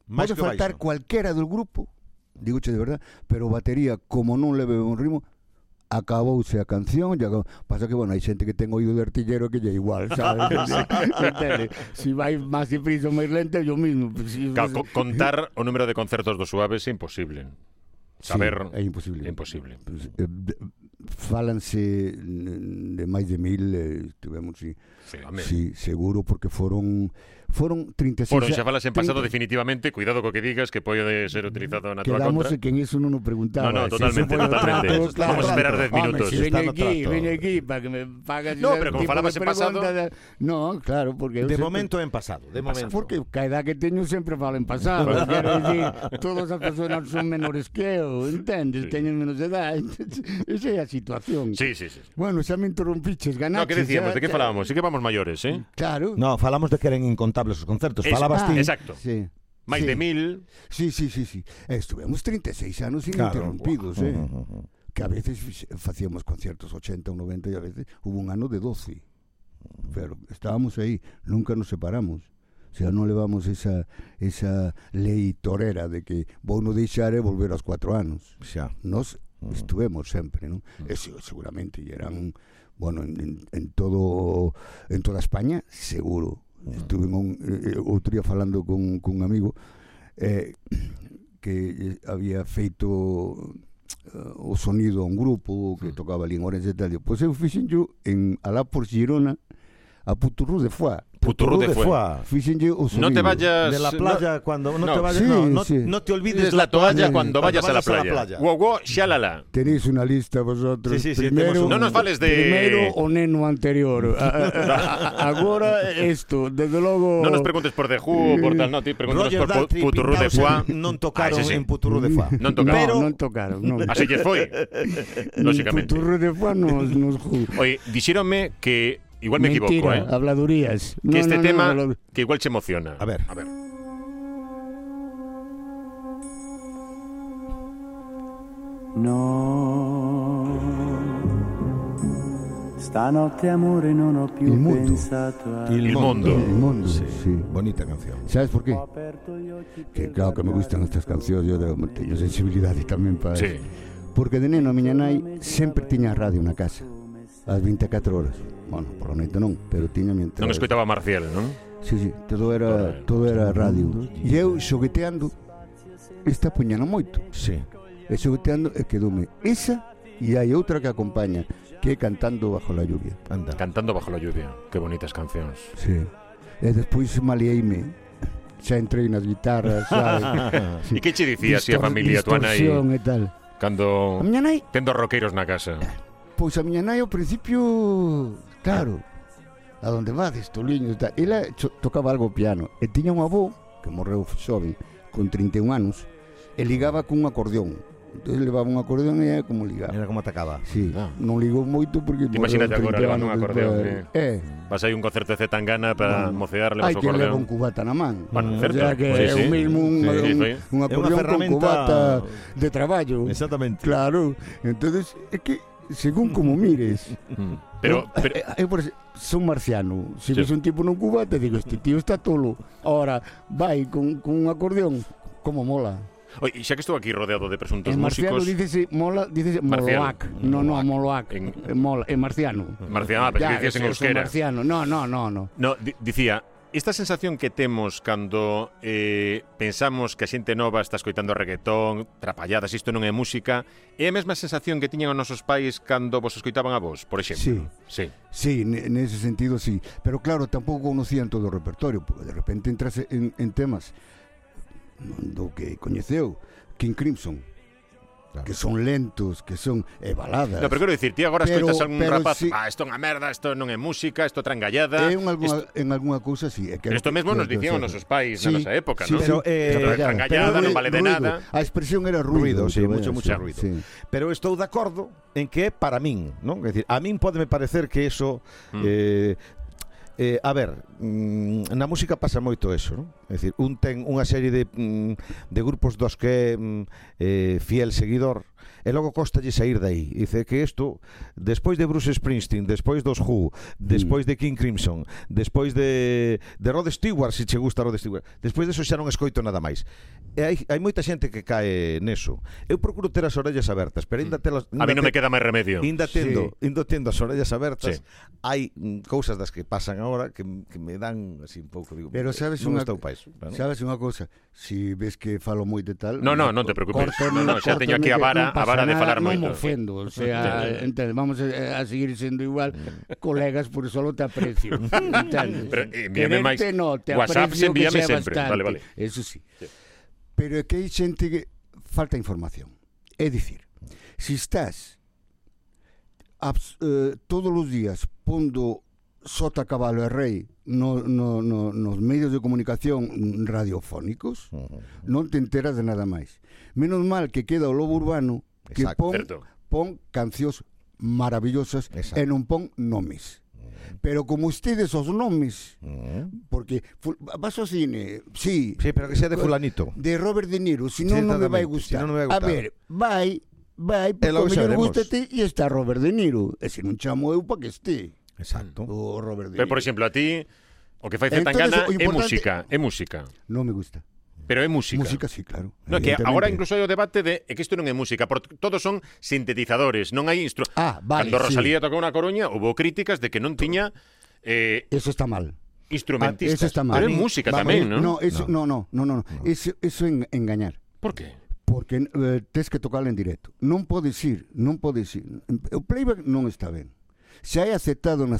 Speaker 6: Máis
Speaker 3: Pode
Speaker 6: que o
Speaker 3: faltar
Speaker 6: baixo.
Speaker 3: cualquera do grupo, digoche de verdad, pero o batería, como non leve un ritmo, acabouse a canción, e acabou. pasa que, bueno, hai xente que ten oído de artillero que lle é igual, sabes?
Speaker 5: Entende? Si vai máis deprisa ou máis lento, é o mismo.
Speaker 3: pues,
Speaker 5: Si,
Speaker 1: Claro, co- contar o número de concertos do Suaves é imposible. Saber
Speaker 3: sí, é imposible.
Speaker 1: é imposible.
Speaker 3: Pues, eh, de- Fálanse mm, de máis de mil, eh, tivemos, sí,
Speaker 1: Sí, home.
Speaker 3: sí, seguro, porque foron foron 36...
Speaker 1: Foro, xa falas en pasado
Speaker 3: 30
Speaker 1: definitivamente, cuidado co que digas que pode ser utilizado na tua
Speaker 5: Quedamos
Speaker 1: contra.
Speaker 5: en que en eso non nos preguntaba.
Speaker 1: No, no,
Speaker 5: Si
Speaker 1: totalmente,
Speaker 5: eso fue lo
Speaker 1: totalmente.
Speaker 5: trato, claro.
Speaker 1: Vamos a esperar 10
Speaker 5: Hombre,
Speaker 1: minutos.
Speaker 5: Si veño
Speaker 6: Está no
Speaker 5: aquí,
Speaker 6: trato.
Speaker 5: veño aquí para que me pagas.
Speaker 1: No,
Speaker 5: ese
Speaker 1: pero como
Speaker 5: tipo
Speaker 1: falabas
Speaker 5: de
Speaker 1: en pasado-
Speaker 5: preguntas. No, claro, porque. eu
Speaker 6: De
Speaker 5: sempre-
Speaker 6: momento en pasado, de momento.
Speaker 5: Porque cada edad que teño sempre falo en pasado Quero dicir, todas as persoas son menores que eu
Speaker 1: Sí.
Speaker 5: Entendes, teñen menos de edad Esa é a situación
Speaker 1: Sí, sí, sí.
Speaker 5: Bueno, xa me interrompiches,
Speaker 1: No,
Speaker 5: ganaches
Speaker 1: que decíamos, de que
Speaker 5: xa-
Speaker 1: falábamos? Sí que vamos maiores, eh?
Speaker 5: Claro,
Speaker 2: No, falamos de que eran incontables os concertos.
Speaker 1: Es-
Speaker 2: Falabas ti.
Speaker 1: Exacto.
Speaker 3: Sí.
Speaker 1: Máis
Speaker 3: Sí.
Speaker 1: de mil,
Speaker 3: Sí, sí, sí, sí. Estuvimos 36 anos
Speaker 2: Claro.
Speaker 3: ininterrumpidos,
Speaker 2: Ujú,
Speaker 3: eh.
Speaker 6: Mm,
Speaker 2: ujú, ujú.
Speaker 3: que a veces fix- facíamos conciertos 80 ou 90 e a veces hubo un ano de 12. Pero estábamos aí, nunca nos separamos. O sea, non levamos esa esa lei torera de que vou no deixar e volver aos 4 anos.
Speaker 2: Xa.
Speaker 3: Nos estuvemos sempre, non? Eso seguramente e eran bueno, en, en, en todo en toda España, seguro. Estuve un, eh, outro día falando con, con un amigo eh, que eh, había feito eh, o sonido a un grupo que tocaba ali en Orense e tal. Pois eu fixenllo en alá por Girona a Puturru de Foix.
Speaker 1: Puturru de Fue.
Speaker 2: Fua.
Speaker 3: Fixenllo o
Speaker 1: No
Speaker 3: sonido.
Speaker 1: Ah. te vayas...
Speaker 2: De la playa cuando no,
Speaker 1: no,
Speaker 2: te vayas
Speaker 3: sí,
Speaker 2: no, no,
Speaker 3: sí.
Speaker 2: no te olvides
Speaker 1: Des la toalla
Speaker 3: Sí.
Speaker 1: cuando
Speaker 2: Cuando
Speaker 1: vayas a la
Speaker 2: vayas a la
Speaker 1: playa.
Speaker 2: playa.
Speaker 1: Guau, guau, xalala.
Speaker 3: Tenéis una lista vosotros.
Speaker 6: Sí, sí, sí,
Speaker 3: Primero,
Speaker 6: temos
Speaker 1: No nos fales de...
Speaker 5: Primeiro o neno anterior A- a- a- Agora isto, desde logo
Speaker 1: No nos
Speaker 3: Oh.
Speaker 1: preguntes por The Who ou por tal, no, ti, pregúntanos
Speaker 6: Roger
Speaker 1: por pu-
Speaker 6: Daltrey e
Speaker 1: Puturru de Foix.
Speaker 6: Pintausen non tocaron
Speaker 1: Ah, ese sí.
Speaker 6: en Puturru de Foix.
Speaker 1: Non
Speaker 5: No,
Speaker 1: tocaron.
Speaker 6: Pero-
Speaker 5: non tocaron non.
Speaker 1: Así lles foi, lóxicamente.
Speaker 5: Puturro de Juan nos, nos ju-
Speaker 1: Oye, dixéronme que... Igual me
Speaker 5: Mentira,
Speaker 1: equivoco, eh?
Speaker 5: habladurías
Speaker 1: Que
Speaker 5: No,
Speaker 1: este
Speaker 5: no, no,
Speaker 1: tema
Speaker 5: habladur-
Speaker 1: que igual se emociona.
Speaker 2: A ver.
Speaker 1: A ver.
Speaker 7: No, stanotte amore non ho più
Speaker 3: Il muto.
Speaker 7: pensato a
Speaker 1: Il mondo.
Speaker 3: Ah, El mundo. Sí.
Speaker 2: Bonita canción.
Speaker 3: ¿Sabes por qué?
Speaker 7: Ho aperto gli occhi
Speaker 3: Que
Speaker 7: per
Speaker 3: claro que me gustan estas canciones, yo tengo, teño sensibilidade tamén para
Speaker 1: Sí.
Speaker 3: eso. Porque de neno a miña nai sempre tiña a radio na casa, ás 24 horas. Bueno, por la noite non, pero tiña mientras...
Speaker 1: Non escoitaba Marcial, non?
Speaker 3: Sí, sí, todo era, todo era radio. E eu xogueteando, esta puñana moito.
Speaker 2: Sí.
Speaker 3: E xogueteando e quedoume esa e hai outra que acompaña, que é cantando bajo la lluvia.
Speaker 2: Anda.
Speaker 1: Cantando bajo la lluvia. Qué bonitas cancións.
Speaker 3: Sí. E despois maleeime, xa entrei nas guitarras, xa...
Speaker 1: E que che dicía así a
Speaker 3: Distor-
Speaker 1: familia tua nai
Speaker 3: distorsión e tal. A
Speaker 1: cando
Speaker 3: miña nai
Speaker 1: tendo roqueiros na casa?
Speaker 3: Pois a miña nai ao principio, claro, a donde vades, toliño, tal. Ela cho- tocaba algo o piano e tiña un avó que morreu xoven con 31 anos e ligaba cun acordeón. Entón levaba un acordeón e era como ligaba.
Speaker 2: Era como atacaba.
Speaker 3: Sí,
Speaker 1: Ah.
Speaker 3: non ligou moito porque...
Speaker 1: Ti imagínate agora levando un acordeón,
Speaker 3: Eh,
Speaker 1: Vas aí un concerto de Zetangana para
Speaker 3: Mm.
Speaker 1: mocear, levas
Speaker 3: hai
Speaker 1: o
Speaker 3: que leva un
Speaker 1: acordeón.
Speaker 3: cubata na man.
Speaker 1: Bueno,
Speaker 2: Mm.
Speaker 1: certo.
Speaker 5: O sea que
Speaker 1: Sí,
Speaker 5: é
Speaker 1: sí.
Speaker 5: o
Speaker 3: mismo un,
Speaker 1: Sí,
Speaker 3: un,
Speaker 1: sí.
Speaker 3: un
Speaker 2: É
Speaker 3: acordeón
Speaker 2: ferramenta-
Speaker 3: con cubata de traballo.
Speaker 2: Exactamente.
Speaker 3: Claro, entonces é que según como mires,
Speaker 1: Mm. Pero,
Speaker 3: eu,
Speaker 1: pero,
Speaker 3: eh, eu, por exemplo, son marciano,
Speaker 1: Sí.
Speaker 3: se ves un tipo nun cubata, digo, este tío está tolo. Ahora, vai con, con un acordeón, como mola.
Speaker 1: Oi, xa que estou aquí rodeado de presuntos
Speaker 3: En marciano
Speaker 1: músicos...
Speaker 3: dícese mola, dícese
Speaker 1: Marciano.
Speaker 3: moloac. No, no, moloac.
Speaker 1: En-
Speaker 3: En... Mola, en marciano.
Speaker 1: Marciano, ah, pensei que dicías en
Speaker 3: eso, eso,
Speaker 1: euskera.
Speaker 3: marciano. No, no, no, no.
Speaker 1: No, di- dicía, esta sensación que temos cando eh, pensamos que a xente nova está escoitando reggaetón, trapalladas, isto non é música, é a mesma sensación que tiñan os nosos pais cando vos escoitaban a vos, por exemplo. Sí. sí.
Speaker 3: Sí, ne- en ese sentido sí. Pero claro, tampoco conocían todo o repertorio, porque de repente entras en, en temas do que coñeceu, King Crimson,
Speaker 2: Claro.
Speaker 3: que son lentos, que son eh, baladas.
Speaker 1: No, pero quero dicir, ti agora
Speaker 3: Pero-
Speaker 1: escoitas a un
Speaker 3: pero
Speaker 1: rapaz,
Speaker 3: si-
Speaker 1: ah, isto é unha merda, isto non é música, isto é trangallada.
Speaker 3: en, Eh, alguna,
Speaker 1: isto...
Speaker 3: en alguna cousa sí. é que
Speaker 1: Pero
Speaker 3: era
Speaker 1: isto
Speaker 3: que-
Speaker 1: mesmo nos
Speaker 3: que- que-
Speaker 1: dicían os nosos pais na nosa época, non?
Speaker 2: Pero, eh,
Speaker 1: Trangallada, trangallada, non
Speaker 3: ruido-
Speaker 1: vale de
Speaker 3: ruido.
Speaker 1: nada.
Speaker 3: A expresión era
Speaker 2: Ruido,
Speaker 3: ruido.
Speaker 2: sí,
Speaker 3: pero
Speaker 2: mucho,
Speaker 3: era,
Speaker 2: mucho
Speaker 3: sí,
Speaker 2: ruido.
Speaker 3: sí.
Speaker 2: Pero estou de acordo en que é para min, non? É dicir, a min podeme parecer que eso
Speaker 1: Mm.
Speaker 2: eh, eh, a ver, mm, na música pasa moito eso, non? É dicir, un ten unha serie de, mm, de grupos dos que é mm, eh, fiel seguidor e logo costalle sair de aí. Dice que isto, despois de Bruce Springsteen, despois
Speaker 1: Mm.
Speaker 2: dos Who, despois de King Crimson, despois de, de Rod Stewart, se che gusta Rod Stewart, despois deso xa non escoito nada máis. E hai, hai moita xente que cae neso. Eu procuro ter as orellas abertas, pero ainda telas...
Speaker 1: Mm. A mí non
Speaker 2: ainda
Speaker 1: me queda máis remedio.
Speaker 2: Inda tendo, sí. inda tendo as orellas
Speaker 1: Sí.
Speaker 2: abertas, sí. hai mm, cousas das que pasan agora que, que me dan así un pouco, digo, eh,
Speaker 3: Pero sabes
Speaker 2: non
Speaker 3: unha-
Speaker 2: estou pa iso, non?
Speaker 3: Sabes unha cousa? Si ves que falo moi de tal... eh,
Speaker 1: No, no, non te preocupes.
Speaker 3: córtame,
Speaker 1: No, no, xa teño aquí a vara, a vara
Speaker 3: córtame, que non
Speaker 5: pasa
Speaker 1: de falar
Speaker 5: nada, Non me
Speaker 1: moito.
Speaker 5: ofendo, o sea, entende, vamos a, a seguir sendo igual colegas, por solo te aprecio. entende?
Speaker 1: Pero eh, envíame máis.
Speaker 5: Quererte no, te
Speaker 1: WhatsApps
Speaker 5: aprecio que
Speaker 1: envíame
Speaker 5: sea
Speaker 1: sempre.
Speaker 5: bastante.
Speaker 1: Vale, vale.
Speaker 5: Eso sí.
Speaker 3: Pero é que hai xente que falta información. É dicir, se estás abs, eh, todos os días pondo sota cabalo e rei no, no, no, nos medios de comunicación radiofónicos,
Speaker 2: Ujú.
Speaker 3: non te enteras de nada máis. Menos mal que queda o lobo urbano que
Speaker 2: Exacto.
Speaker 3: pon,
Speaker 1: Certo.
Speaker 3: pon cancións maravillosas
Speaker 2: Exacto.
Speaker 3: e non pon nomes. Pero como ustedes os nomes,
Speaker 2: Mm.
Speaker 3: porque fu- vas ao cine, sí,
Speaker 2: Sí, pero que sea de fulanito.
Speaker 3: de Robert De Niro, si no, no me va a
Speaker 2: Exactamente,
Speaker 3: gustar.
Speaker 2: si no, no me va a gustar.
Speaker 3: A ver, vai, vai, porque
Speaker 2: E logo
Speaker 3: o mellor
Speaker 2: saberemos.
Speaker 3: gústate e está Robert De Niro. E se non chamo eu para que este,
Speaker 2: Exacto.
Speaker 3: o Robert De
Speaker 1: Pero,
Speaker 3: Niro.
Speaker 1: por exemplo, a ti, o que fai
Speaker 3: Entonces,
Speaker 1: Zetangana
Speaker 3: o
Speaker 1: é
Speaker 3: importante-
Speaker 1: música, é música.
Speaker 3: Non me gusta.
Speaker 1: Pero é música.
Speaker 3: Música sí, claro.
Speaker 1: No, é que
Speaker 3: evidentemente.
Speaker 1: agora incluso hai o debate de é que isto non é música, porque todos son sintetizadores, non hai instru...
Speaker 3: Ah, vale,
Speaker 1: Cando
Speaker 3: sí.
Speaker 1: Rosalía tocou na Coruña, houve críticas de que non tiña eh,
Speaker 3: Eso está mal.
Speaker 1: instrumentistas.
Speaker 3: Ah, Eso está mal.
Speaker 1: Pero é música tamén, non?
Speaker 3: No, eh, eso, no, no, no, no. no. Eso, eso en, engañar.
Speaker 1: Por que?
Speaker 3: Porque eh, tes que tocarla en directo. Non podes ir, non podes ir. O playback non está ben. Se hai aceptado
Speaker 1: No, e la-
Speaker 3: nas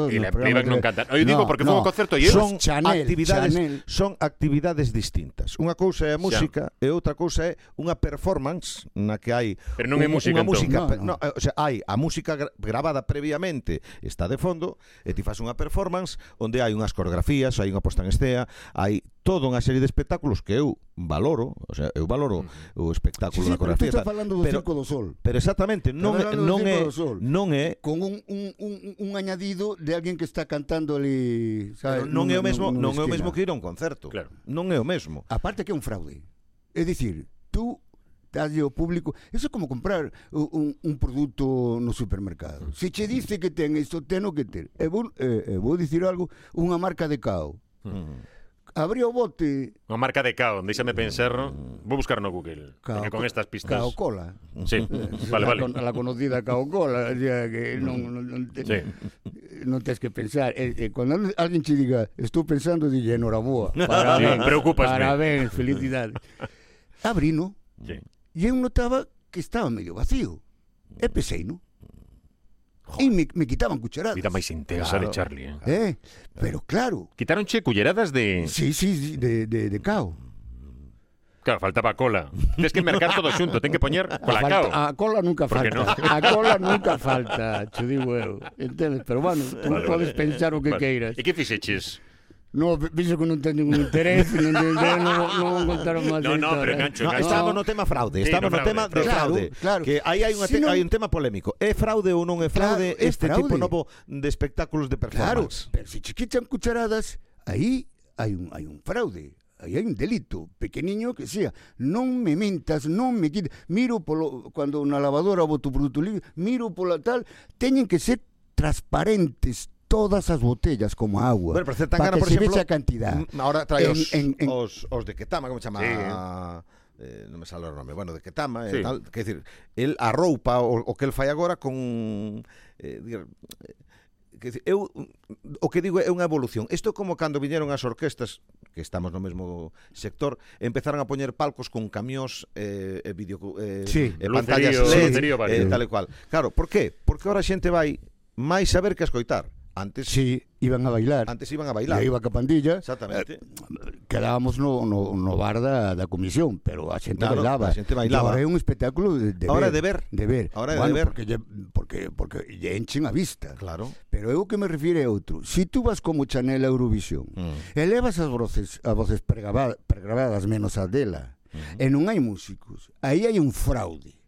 Speaker 3: televisións...
Speaker 1: e la
Speaker 3: nos programas
Speaker 1: playback
Speaker 3: de-
Speaker 1: non canta. Eu digo porque foi un concerto e eu-
Speaker 3: Son
Speaker 2: Son
Speaker 3: Chanel,
Speaker 2: actividades
Speaker 3: Chanel.
Speaker 2: son actividades distintas. Unha cousa é a música e outra cousa é unha performance na que hai
Speaker 1: Pero non é
Speaker 2: un-
Speaker 1: música,
Speaker 2: unha
Speaker 1: entón.
Speaker 2: música,
Speaker 3: No,
Speaker 2: pe- no,
Speaker 3: no.
Speaker 2: eh, o sea, hai a música gra- grabada previamente, está de fondo e ti fas unha performance onde hai unhas coreografías, hai unha posta en escena, hai toda unha serie de espectáculos que eu valoro, o sea, eu valoro o
Speaker 3: Sí,
Speaker 2: espectáculo
Speaker 3: sí,
Speaker 2: da
Speaker 3: pero tú
Speaker 2: coreografía.
Speaker 3: estás
Speaker 2: tal,
Speaker 3: falando do
Speaker 2: pero-
Speaker 3: Circo do Sol.
Speaker 2: Pero exactamente, non é,
Speaker 3: hablando do
Speaker 2: non
Speaker 3: Circo
Speaker 2: é
Speaker 3: do Sol.
Speaker 2: non é
Speaker 3: con un, un, un, un añadido de alguén que está cantando
Speaker 2: Pero
Speaker 3: ali, sabes,
Speaker 2: non é o
Speaker 3: nunha-
Speaker 2: mesmo,
Speaker 3: nunha
Speaker 2: non é o
Speaker 3: esquina.
Speaker 2: mesmo que ir a un concerto.
Speaker 1: Claro.
Speaker 2: Non é o mesmo.
Speaker 3: Aparte que é un fraude. É dicir, tú dáslle ao público, eso é como comprar u- un, un produto no supermercado. Se che dice que ten isto, teno que ter. E vou, eh, eh, vou dicir algo, unha marca de cao.
Speaker 1: Mm.
Speaker 2: Mm.
Speaker 3: Abriu o bote
Speaker 1: Unha marca de cao, deixame pensar, vou buscar no Google,
Speaker 3: Cao-
Speaker 1: porque con estas pistas.
Speaker 3: cao cola.
Speaker 1: Sí, vale,
Speaker 5: la,
Speaker 1: vale.
Speaker 5: con- la conocida caocola, o sea, que non, non, non, te,
Speaker 1: Sí.
Speaker 5: non tes que pensar. Eh,
Speaker 3: Eh, Cando alguén che diga, estou pensando, dille, enhoraboa.
Speaker 1: Sí, preocúpasme.
Speaker 5: Parabéns, felicidades.
Speaker 3: Abrino,
Speaker 1: Sí.
Speaker 3: E eu notaba que estaba medio vacío. E pesei, non? E me, me quitaban cucharadas.
Speaker 1: Vida máis intensa de Charlie, eh.
Speaker 3: Eh, pero claro,
Speaker 1: Quitaronche culleradas de...
Speaker 3: sí, sí, sí, de, de, de cao.
Speaker 1: Claro, faltaba cola. Tens que mercar todo xunto, ten que poñer cola
Speaker 5: a,
Speaker 1: cao.
Speaker 3: ah,
Speaker 5: falta, a cola nunca
Speaker 1: ¿Por qué
Speaker 5: falta. A cola nunca falta, che digo eu. Entendes? Pero bueno, tú
Speaker 1: Vale,
Speaker 5: podes
Speaker 1: vale.
Speaker 5: pensar o que
Speaker 1: Vale.
Speaker 5: queiras.
Speaker 1: E que fixeches?
Speaker 5: No, pe- penso que non ten ningún interese, non ten interese, non, vou- non vou contar máis
Speaker 1: No,
Speaker 5: da
Speaker 1: no,
Speaker 5: historia.
Speaker 1: pero engancho,
Speaker 2: No,
Speaker 1: engancho.
Speaker 2: estábamos no tema fraude,
Speaker 1: Sí, no,
Speaker 2: estábamos no,
Speaker 1: fraude,
Speaker 2: tema de fraude.
Speaker 1: fraude.
Speaker 3: Claro, claro.
Speaker 2: Que aí hai, unha
Speaker 3: Si
Speaker 2: te-
Speaker 3: non-
Speaker 2: hai un tema polémico. É fraude ou non é fraude
Speaker 3: Claro, é
Speaker 2: este
Speaker 3: fraude.
Speaker 2: tipo novo de espectáculos de
Speaker 3: Claro,
Speaker 2: performance?
Speaker 3: pero si chiquichan cucharadas, ahí hay un, hay un fraude, ahí hay un delito, pequeniño que sea. No me mentas, no me quites. Miro polo, cuando una lavadora boto produto libre, miro por la tal, tienen que ser transparentes todas as botellas como agua.
Speaker 2: Bueno, pero
Speaker 3: para
Speaker 2: Zetangana,
Speaker 3: que
Speaker 2: por
Speaker 3: se
Speaker 2: exemplo,
Speaker 3: vexa a cantidad.
Speaker 2: mm, Ahora trae
Speaker 3: En-
Speaker 2: os,
Speaker 3: en- en-
Speaker 2: os, os de Ketama, como se chama?
Speaker 1: Sí.
Speaker 2: Eh, non me sale o nome. Bueno, de Ketama
Speaker 1: Sí.
Speaker 2: e tal, que decir, el arroupa o, o que el fai agora con eh, dir, eh, que decir, eu mm, o que digo é unha evolución. Isto é como cando viñeron as orquestas que estamos no mesmo sector, empezaron a poñer palcos con camións eh, e vídeo eh,
Speaker 3: Sí.
Speaker 2: e pantallas
Speaker 1: Lucerío,
Speaker 2: LED,
Speaker 1: lucerío
Speaker 2: eh,
Speaker 1: varios.
Speaker 2: tal e cual. Claro, por qué? Porque ahora a xente vai máis a ver que a escoitar. Antes
Speaker 3: Sí, iban a bailar.
Speaker 2: antes iban a
Speaker 3: E
Speaker 2: bailar.
Speaker 3: aí iba a capandilla,
Speaker 2: Exactamente.
Speaker 3: quedábamos no, no, no bar da, da comisión, pero a xente
Speaker 2: Claro,
Speaker 3: bailaba.
Speaker 2: a xente bailaba.
Speaker 3: E Ahora é un espectáculo de, de
Speaker 2: Ahora
Speaker 3: ver.
Speaker 2: de ver.
Speaker 3: De ver.
Speaker 2: Ahora de
Speaker 3: bueno,
Speaker 2: ver.
Speaker 3: Porque, lle, porque, porque lle enchen a vista.
Speaker 2: Claro.
Speaker 3: Pero eu que me refire é outro. Si tú vas como Chanel a Eurovisión, mm. elevas as voces, as voces pregaba- pregrabadas menos a dela,
Speaker 1: Mm.
Speaker 3: e non hai músicos. Aí hai un fraude.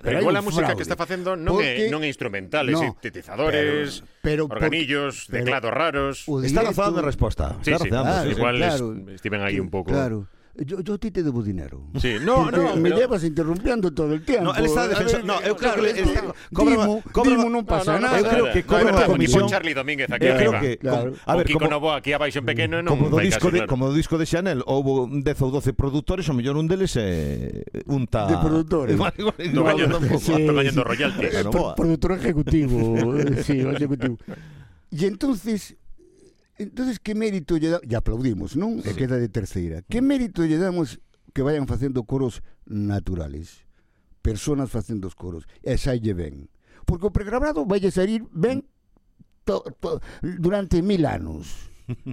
Speaker 1: Pero
Speaker 3: hai
Speaker 1: igual
Speaker 3: un
Speaker 1: a música que
Speaker 3: fraude.
Speaker 1: está facendo non é
Speaker 3: Porque-
Speaker 1: non é instrumental, é
Speaker 3: No,
Speaker 1: sintetizadores,
Speaker 3: pero- pero porque-
Speaker 1: organillos,
Speaker 3: pero-
Speaker 1: teclados raros.
Speaker 3: O
Speaker 2: Está
Speaker 3: directo-
Speaker 2: razonando a resposta.
Speaker 1: Sí,
Speaker 2: Está
Speaker 1: sí.
Speaker 2: razonando,
Speaker 3: Ah,
Speaker 2: sí, sí.
Speaker 1: Igual
Speaker 3: claro.
Speaker 1: es- estiven aí un pouco.
Speaker 3: Claro. Yo, yo a ti te debo dinero.
Speaker 1: Sí, no,
Speaker 3: Porque
Speaker 1: no,
Speaker 3: me
Speaker 1: pero-
Speaker 3: llevas interrumpiendo todo el tiempo.
Speaker 2: No, él está
Speaker 3: A
Speaker 2: defensor-
Speaker 3: ver,
Speaker 2: no, eu creo eh,
Speaker 3: claro,
Speaker 2: que le-
Speaker 3: es que
Speaker 2: está- cobra-
Speaker 3: Dimo-
Speaker 2: cobra-
Speaker 3: Dimo non pasa
Speaker 1: No, no,
Speaker 3: nada.
Speaker 1: no,
Speaker 2: Eu creo
Speaker 1: nada.
Speaker 2: que
Speaker 1: No,
Speaker 2: cobra
Speaker 1: é verdad,
Speaker 2: unha
Speaker 1: tipo
Speaker 2: comisión-
Speaker 1: Charlie Domínguez aquí
Speaker 2: Eu creo
Speaker 1: arriba.
Speaker 2: que
Speaker 3: Claro.
Speaker 2: com- a ver,
Speaker 1: o Kiko
Speaker 2: como
Speaker 1: Novoa aquí abaixo en pequeno non
Speaker 2: como do
Speaker 1: vai
Speaker 2: disco
Speaker 1: caso,
Speaker 2: de
Speaker 1: claro.
Speaker 2: como do disco de Chanel houbo 10 ou 12 produtores, o mellor un deles é un ta
Speaker 3: De produtores.
Speaker 2: Igual, igual, igual,
Speaker 1: Tocaño-
Speaker 2: non-
Speaker 5: Sí.
Speaker 1: Tocaño royalties.
Speaker 3: eh,
Speaker 2: Bueno,
Speaker 5: Pro-
Speaker 2: boa.
Speaker 5: Productor ejecutivo, eh, sí, o executivo.
Speaker 3: Y entonces, entonces que mérito lle damos? E aplaudimos, non? E queda de terceira. Que mérito lle damos que vayan facendo coros naturales? Personas facendo os coros. E saille ben. Porque o pregrabado vai salir ben to, to, durante mil anos.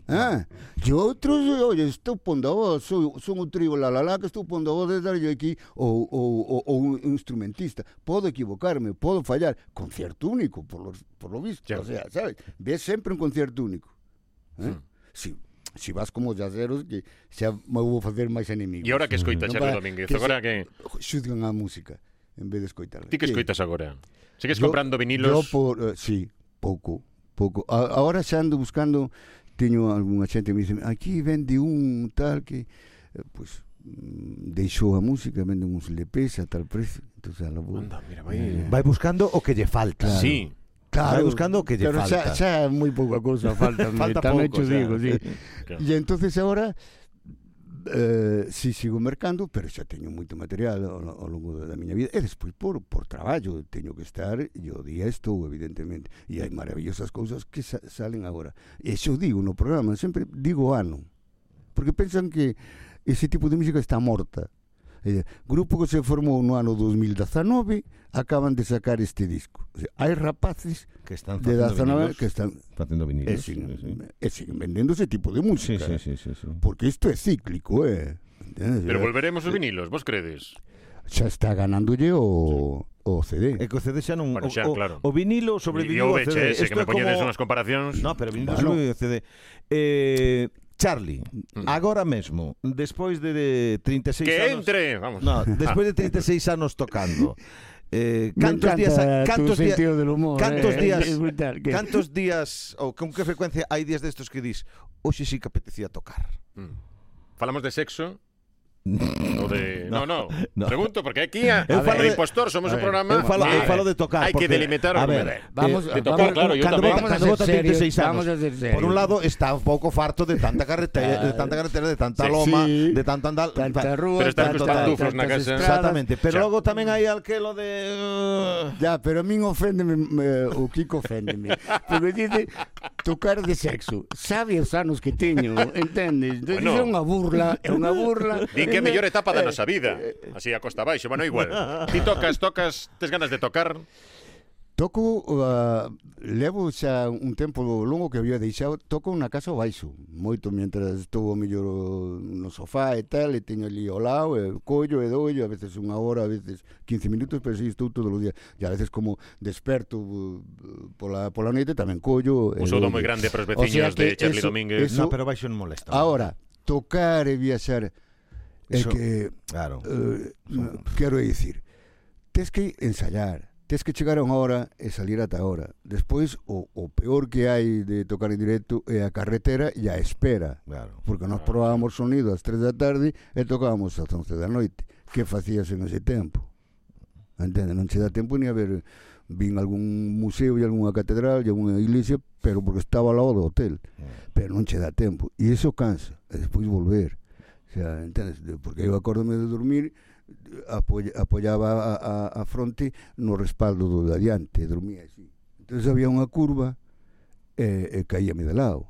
Speaker 3: Ah, e outros, oye, estou pondo a voz, sou, son un trío la la la que estou pondo a voz de darlle aquí ou, ou, ou, ou un instrumentista. Podo equivocarme, podo fallar. Concierto único, por lo, por lo visto.
Speaker 1: Ya.
Speaker 3: O sea, ¿sabes? Ves sempre un concierto único. ¿eh? Si, si vas como yaceros, que xa me vou facer máis
Speaker 1: E
Speaker 3: enemigos.
Speaker 1: agora que escoita
Speaker 3: Non
Speaker 1: Charlie
Speaker 3: para-
Speaker 1: Domínguez,
Speaker 3: que se-
Speaker 1: agora que
Speaker 3: Xuzgan a música, en vez de escoitarla.
Speaker 1: ti que
Speaker 3: Sí.
Speaker 1: escoitas agora? Sigues
Speaker 3: Yo-
Speaker 1: comprando
Speaker 3: Yo
Speaker 1: vinilos?
Speaker 3: por, eh, sí, pouco, pouco. A- ahora xa ando buscando, teño algunha xente que me dice, aquí vende un tal que, eh, pois, mm, deixou a música, vende uns LPs a tal precio, entonces a la vou.
Speaker 1: Anda, mira, vai.
Speaker 2: Vai buscando o que lle falta.
Speaker 1: Sí.
Speaker 2: vai buscando o que lle
Speaker 3: pero
Speaker 2: falta.
Speaker 3: xa, xa moi pouca cousa falta,
Speaker 2: Falta
Speaker 5: Tan
Speaker 2: pouco,
Speaker 5: hecho
Speaker 2: xa.
Speaker 5: digo, sí.
Speaker 1: claro.
Speaker 3: E entonces agora eh, si sigo mercando, pero xa teño moito material ao, ao longo da miña vida e despois por por traballo teño que estar e o día estou evidentemente e hai maravillosas cousas que sa, salen agora. E xo digo no programa, sempre digo ano. Porque pensan que ese tipo de música está morta. Eh, grupo que se formou no ano 2019 acaban de sacar este disco. O sea, hai rapaces
Speaker 2: Que están
Speaker 3: de
Speaker 2: facendo
Speaker 3: 19
Speaker 2: vinilos.
Speaker 3: que están
Speaker 2: Facendo vinilos.
Speaker 3: e siguen, e siguen vendendo ese tipo de
Speaker 2: Sí,
Speaker 3: música. ¿eh?
Speaker 2: sí, sí, sí, sí.
Speaker 3: Porque isto é cíclico, eh? Entendes?
Speaker 1: Pero volveremos os vinilos, vos credes?
Speaker 3: Xa está ganándolle o, o CD.
Speaker 2: E Eh, que o CD xa non
Speaker 1: Bueno,
Speaker 2: o-
Speaker 1: xa,
Speaker 2: o,
Speaker 1: claro.
Speaker 2: o
Speaker 1: E
Speaker 2: vinilo sobreviviu
Speaker 1: o
Speaker 2: ao CD.
Speaker 1: VHS, que
Speaker 2: Isto
Speaker 1: me
Speaker 2: é como-
Speaker 1: poñedes unhas comparacións.
Speaker 2: No, pero vinilo
Speaker 3: Bueno.
Speaker 2: sobreviviu ao CD. Eh, Charlie, agora mesmo, despois de, de 36
Speaker 1: Mm. Que
Speaker 2: anos...
Speaker 1: entre, vamos.
Speaker 2: No, despois de 36 anos tocando. Eh,
Speaker 5: Me
Speaker 2: cantos
Speaker 5: encanta
Speaker 2: días ha-
Speaker 5: tu
Speaker 2: cantos días
Speaker 5: sentido del humor.
Speaker 2: cantos
Speaker 5: eh,
Speaker 2: días-
Speaker 5: es brutal, que-
Speaker 2: cantos días ou con que frecuencia hai días destos que dis, hoxe sí que apetecía tocar.
Speaker 1: Falamos de sexo? O de... No, no,
Speaker 2: no.
Speaker 1: Pregunto, porque aquí a,
Speaker 2: Eu
Speaker 1: a
Speaker 2: falo
Speaker 1: ver,
Speaker 2: de-
Speaker 1: impostor somos
Speaker 5: a
Speaker 1: un
Speaker 5: ver,
Speaker 1: programa...
Speaker 2: Eu falo, eu
Speaker 1: que
Speaker 2: falo de tocar.
Speaker 1: Hai que
Speaker 2: porque,
Speaker 1: delimitar o
Speaker 2: a
Speaker 1: que
Speaker 2: ver,
Speaker 1: merece.
Speaker 5: Vamos,
Speaker 2: eh,
Speaker 1: de tocar, claro, yo
Speaker 2: cando
Speaker 1: también.
Speaker 2: vota-
Speaker 5: Vamos a
Speaker 2: cando
Speaker 5: ser
Speaker 2: vota
Speaker 5: serios,
Speaker 2: 36 anos.
Speaker 5: vamos a ser
Speaker 2: Por un
Speaker 5: serios.
Speaker 2: lado está un pouco farto de tanta carretera, de tanta carretera, de tanta loma,
Speaker 5: Sí.
Speaker 2: de tanta andal,
Speaker 5: Tanta rúa,
Speaker 1: Pero están
Speaker 2: cos
Speaker 5: tantas-
Speaker 1: pantuflos na
Speaker 5: tantas
Speaker 1: casa.
Speaker 5: estradas.
Speaker 2: Exactamente, pero
Speaker 1: Xa.
Speaker 2: logo tamén hai alquelo de uh,
Speaker 3: Ya, pero a min oféndeme, me, o Kiko oféndeme.
Speaker 5: Porque dice tocar de sexo. Sabe os anos que teño, entendes? Entonces,
Speaker 1: Bueno.
Speaker 5: É unha burla, é unha burla.
Speaker 1: Din que é a mellor etapa
Speaker 2: Eh,
Speaker 1: da nosa vida Así a costa baixo, bueno, igual Ti tocas, tocas, tes ganas de tocar
Speaker 3: Toco, ah, levo xa un tempo longo que había deixado, toco na casa ao baixo, moito mientras estou ao mellor o- no sofá e tal, e teño ali ao lado, e collo e doio, a veces unha hora, a veces 15 minutos, pero si estou todo o día. E a veces como desperto uh, pola, pola noite tamén collo. e
Speaker 1: Un saludo moi
Speaker 3: doullo.
Speaker 1: grande para os
Speaker 3: O sea
Speaker 1: veciños de
Speaker 3: que
Speaker 1: Charlie
Speaker 3: eso-
Speaker 1: Domínguez.
Speaker 2: No,
Speaker 3: eso-
Speaker 2: pero baixo non molesta.
Speaker 1: Ah,
Speaker 3: Ahora, tocar e viaxar é
Speaker 2: Eso-
Speaker 3: que
Speaker 2: Claro.
Speaker 3: Eh, no, quero dicir, tes que ensayar, tes que chegar a unha hora e salir ata a hora. Despois, o, o peor que hai de tocar en directo é a carretera e a espera.
Speaker 2: Claro.
Speaker 3: Porque nós probábamos sonido ás 3 da tarde e tocábamos ás 11 da noite. Que facías en ese tempo? Entende? Non che dá tempo ni a ver vin algún museo e algunha catedral e algunha iglesia, pero porque estaba ao lado do hotel. Pero non che dá tempo. E iso cansa. E despois volver. O sea, entendes? De- Porque eu acórdome de dormir apoy, apoyaba a, a, a fronte no respaldo do de adiante, e dormía así. Entón había unha curva eh, e, e caíame de lado,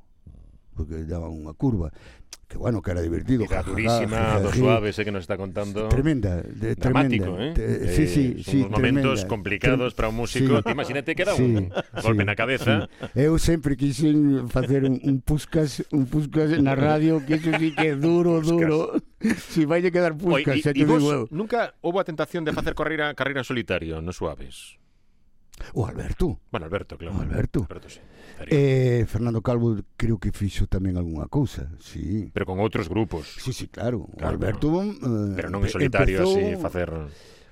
Speaker 3: porque daba unha curva que bueno, que era divertido.
Speaker 1: Vida
Speaker 3: jajaja,
Speaker 1: durísima,
Speaker 3: jajají.
Speaker 1: dos suaves, sé que nos está contando.
Speaker 3: Tremenda, de-
Speaker 1: Dramático,
Speaker 3: tremenda.
Speaker 1: ¿eh?
Speaker 3: Te-
Speaker 1: Eh,
Speaker 3: sí, sí,
Speaker 1: son
Speaker 3: sí,
Speaker 1: unos momentos
Speaker 3: tremenda.
Speaker 1: complicados
Speaker 3: Trem-
Speaker 1: para un músico.
Speaker 3: Sí.
Speaker 1: Te imagínate que da
Speaker 3: Sí,
Speaker 1: un golpe
Speaker 3: sí,
Speaker 1: na cabeza.
Speaker 3: sí. Eu sempre quixen facer un, un
Speaker 5: Puscas, un puscas en la radio, que eso sí que es duro, duro. Si vaya a
Speaker 1: Oi,
Speaker 5: quedar puscas,
Speaker 1: e, e
Speaker 5: ya te
Speaker 1: vos
Speaker 5: digo.
Speaker 1: nunca houve a tentación de facer carreira, carreira en solitario, no suaves.
Speaker 3: O Alberto,
Speaker 1: Bueno, Alberto, claro.
Speaker 3: O Alberto.
Speaker 1: sí. Darío.
Speaker 3: eh, Fernando Calvo creo que fixo tamén algunha cousa, sí.
Speaker 1: Pero con outros grupos.
Speaker 3: Sí, sí, claro.
Speaker 1: Claro.
Speaker 3: claro Alberto eh,
Speaker 1: Pero non en solitario,
Speaker 3: empezou-
Speaker 1: así, facer...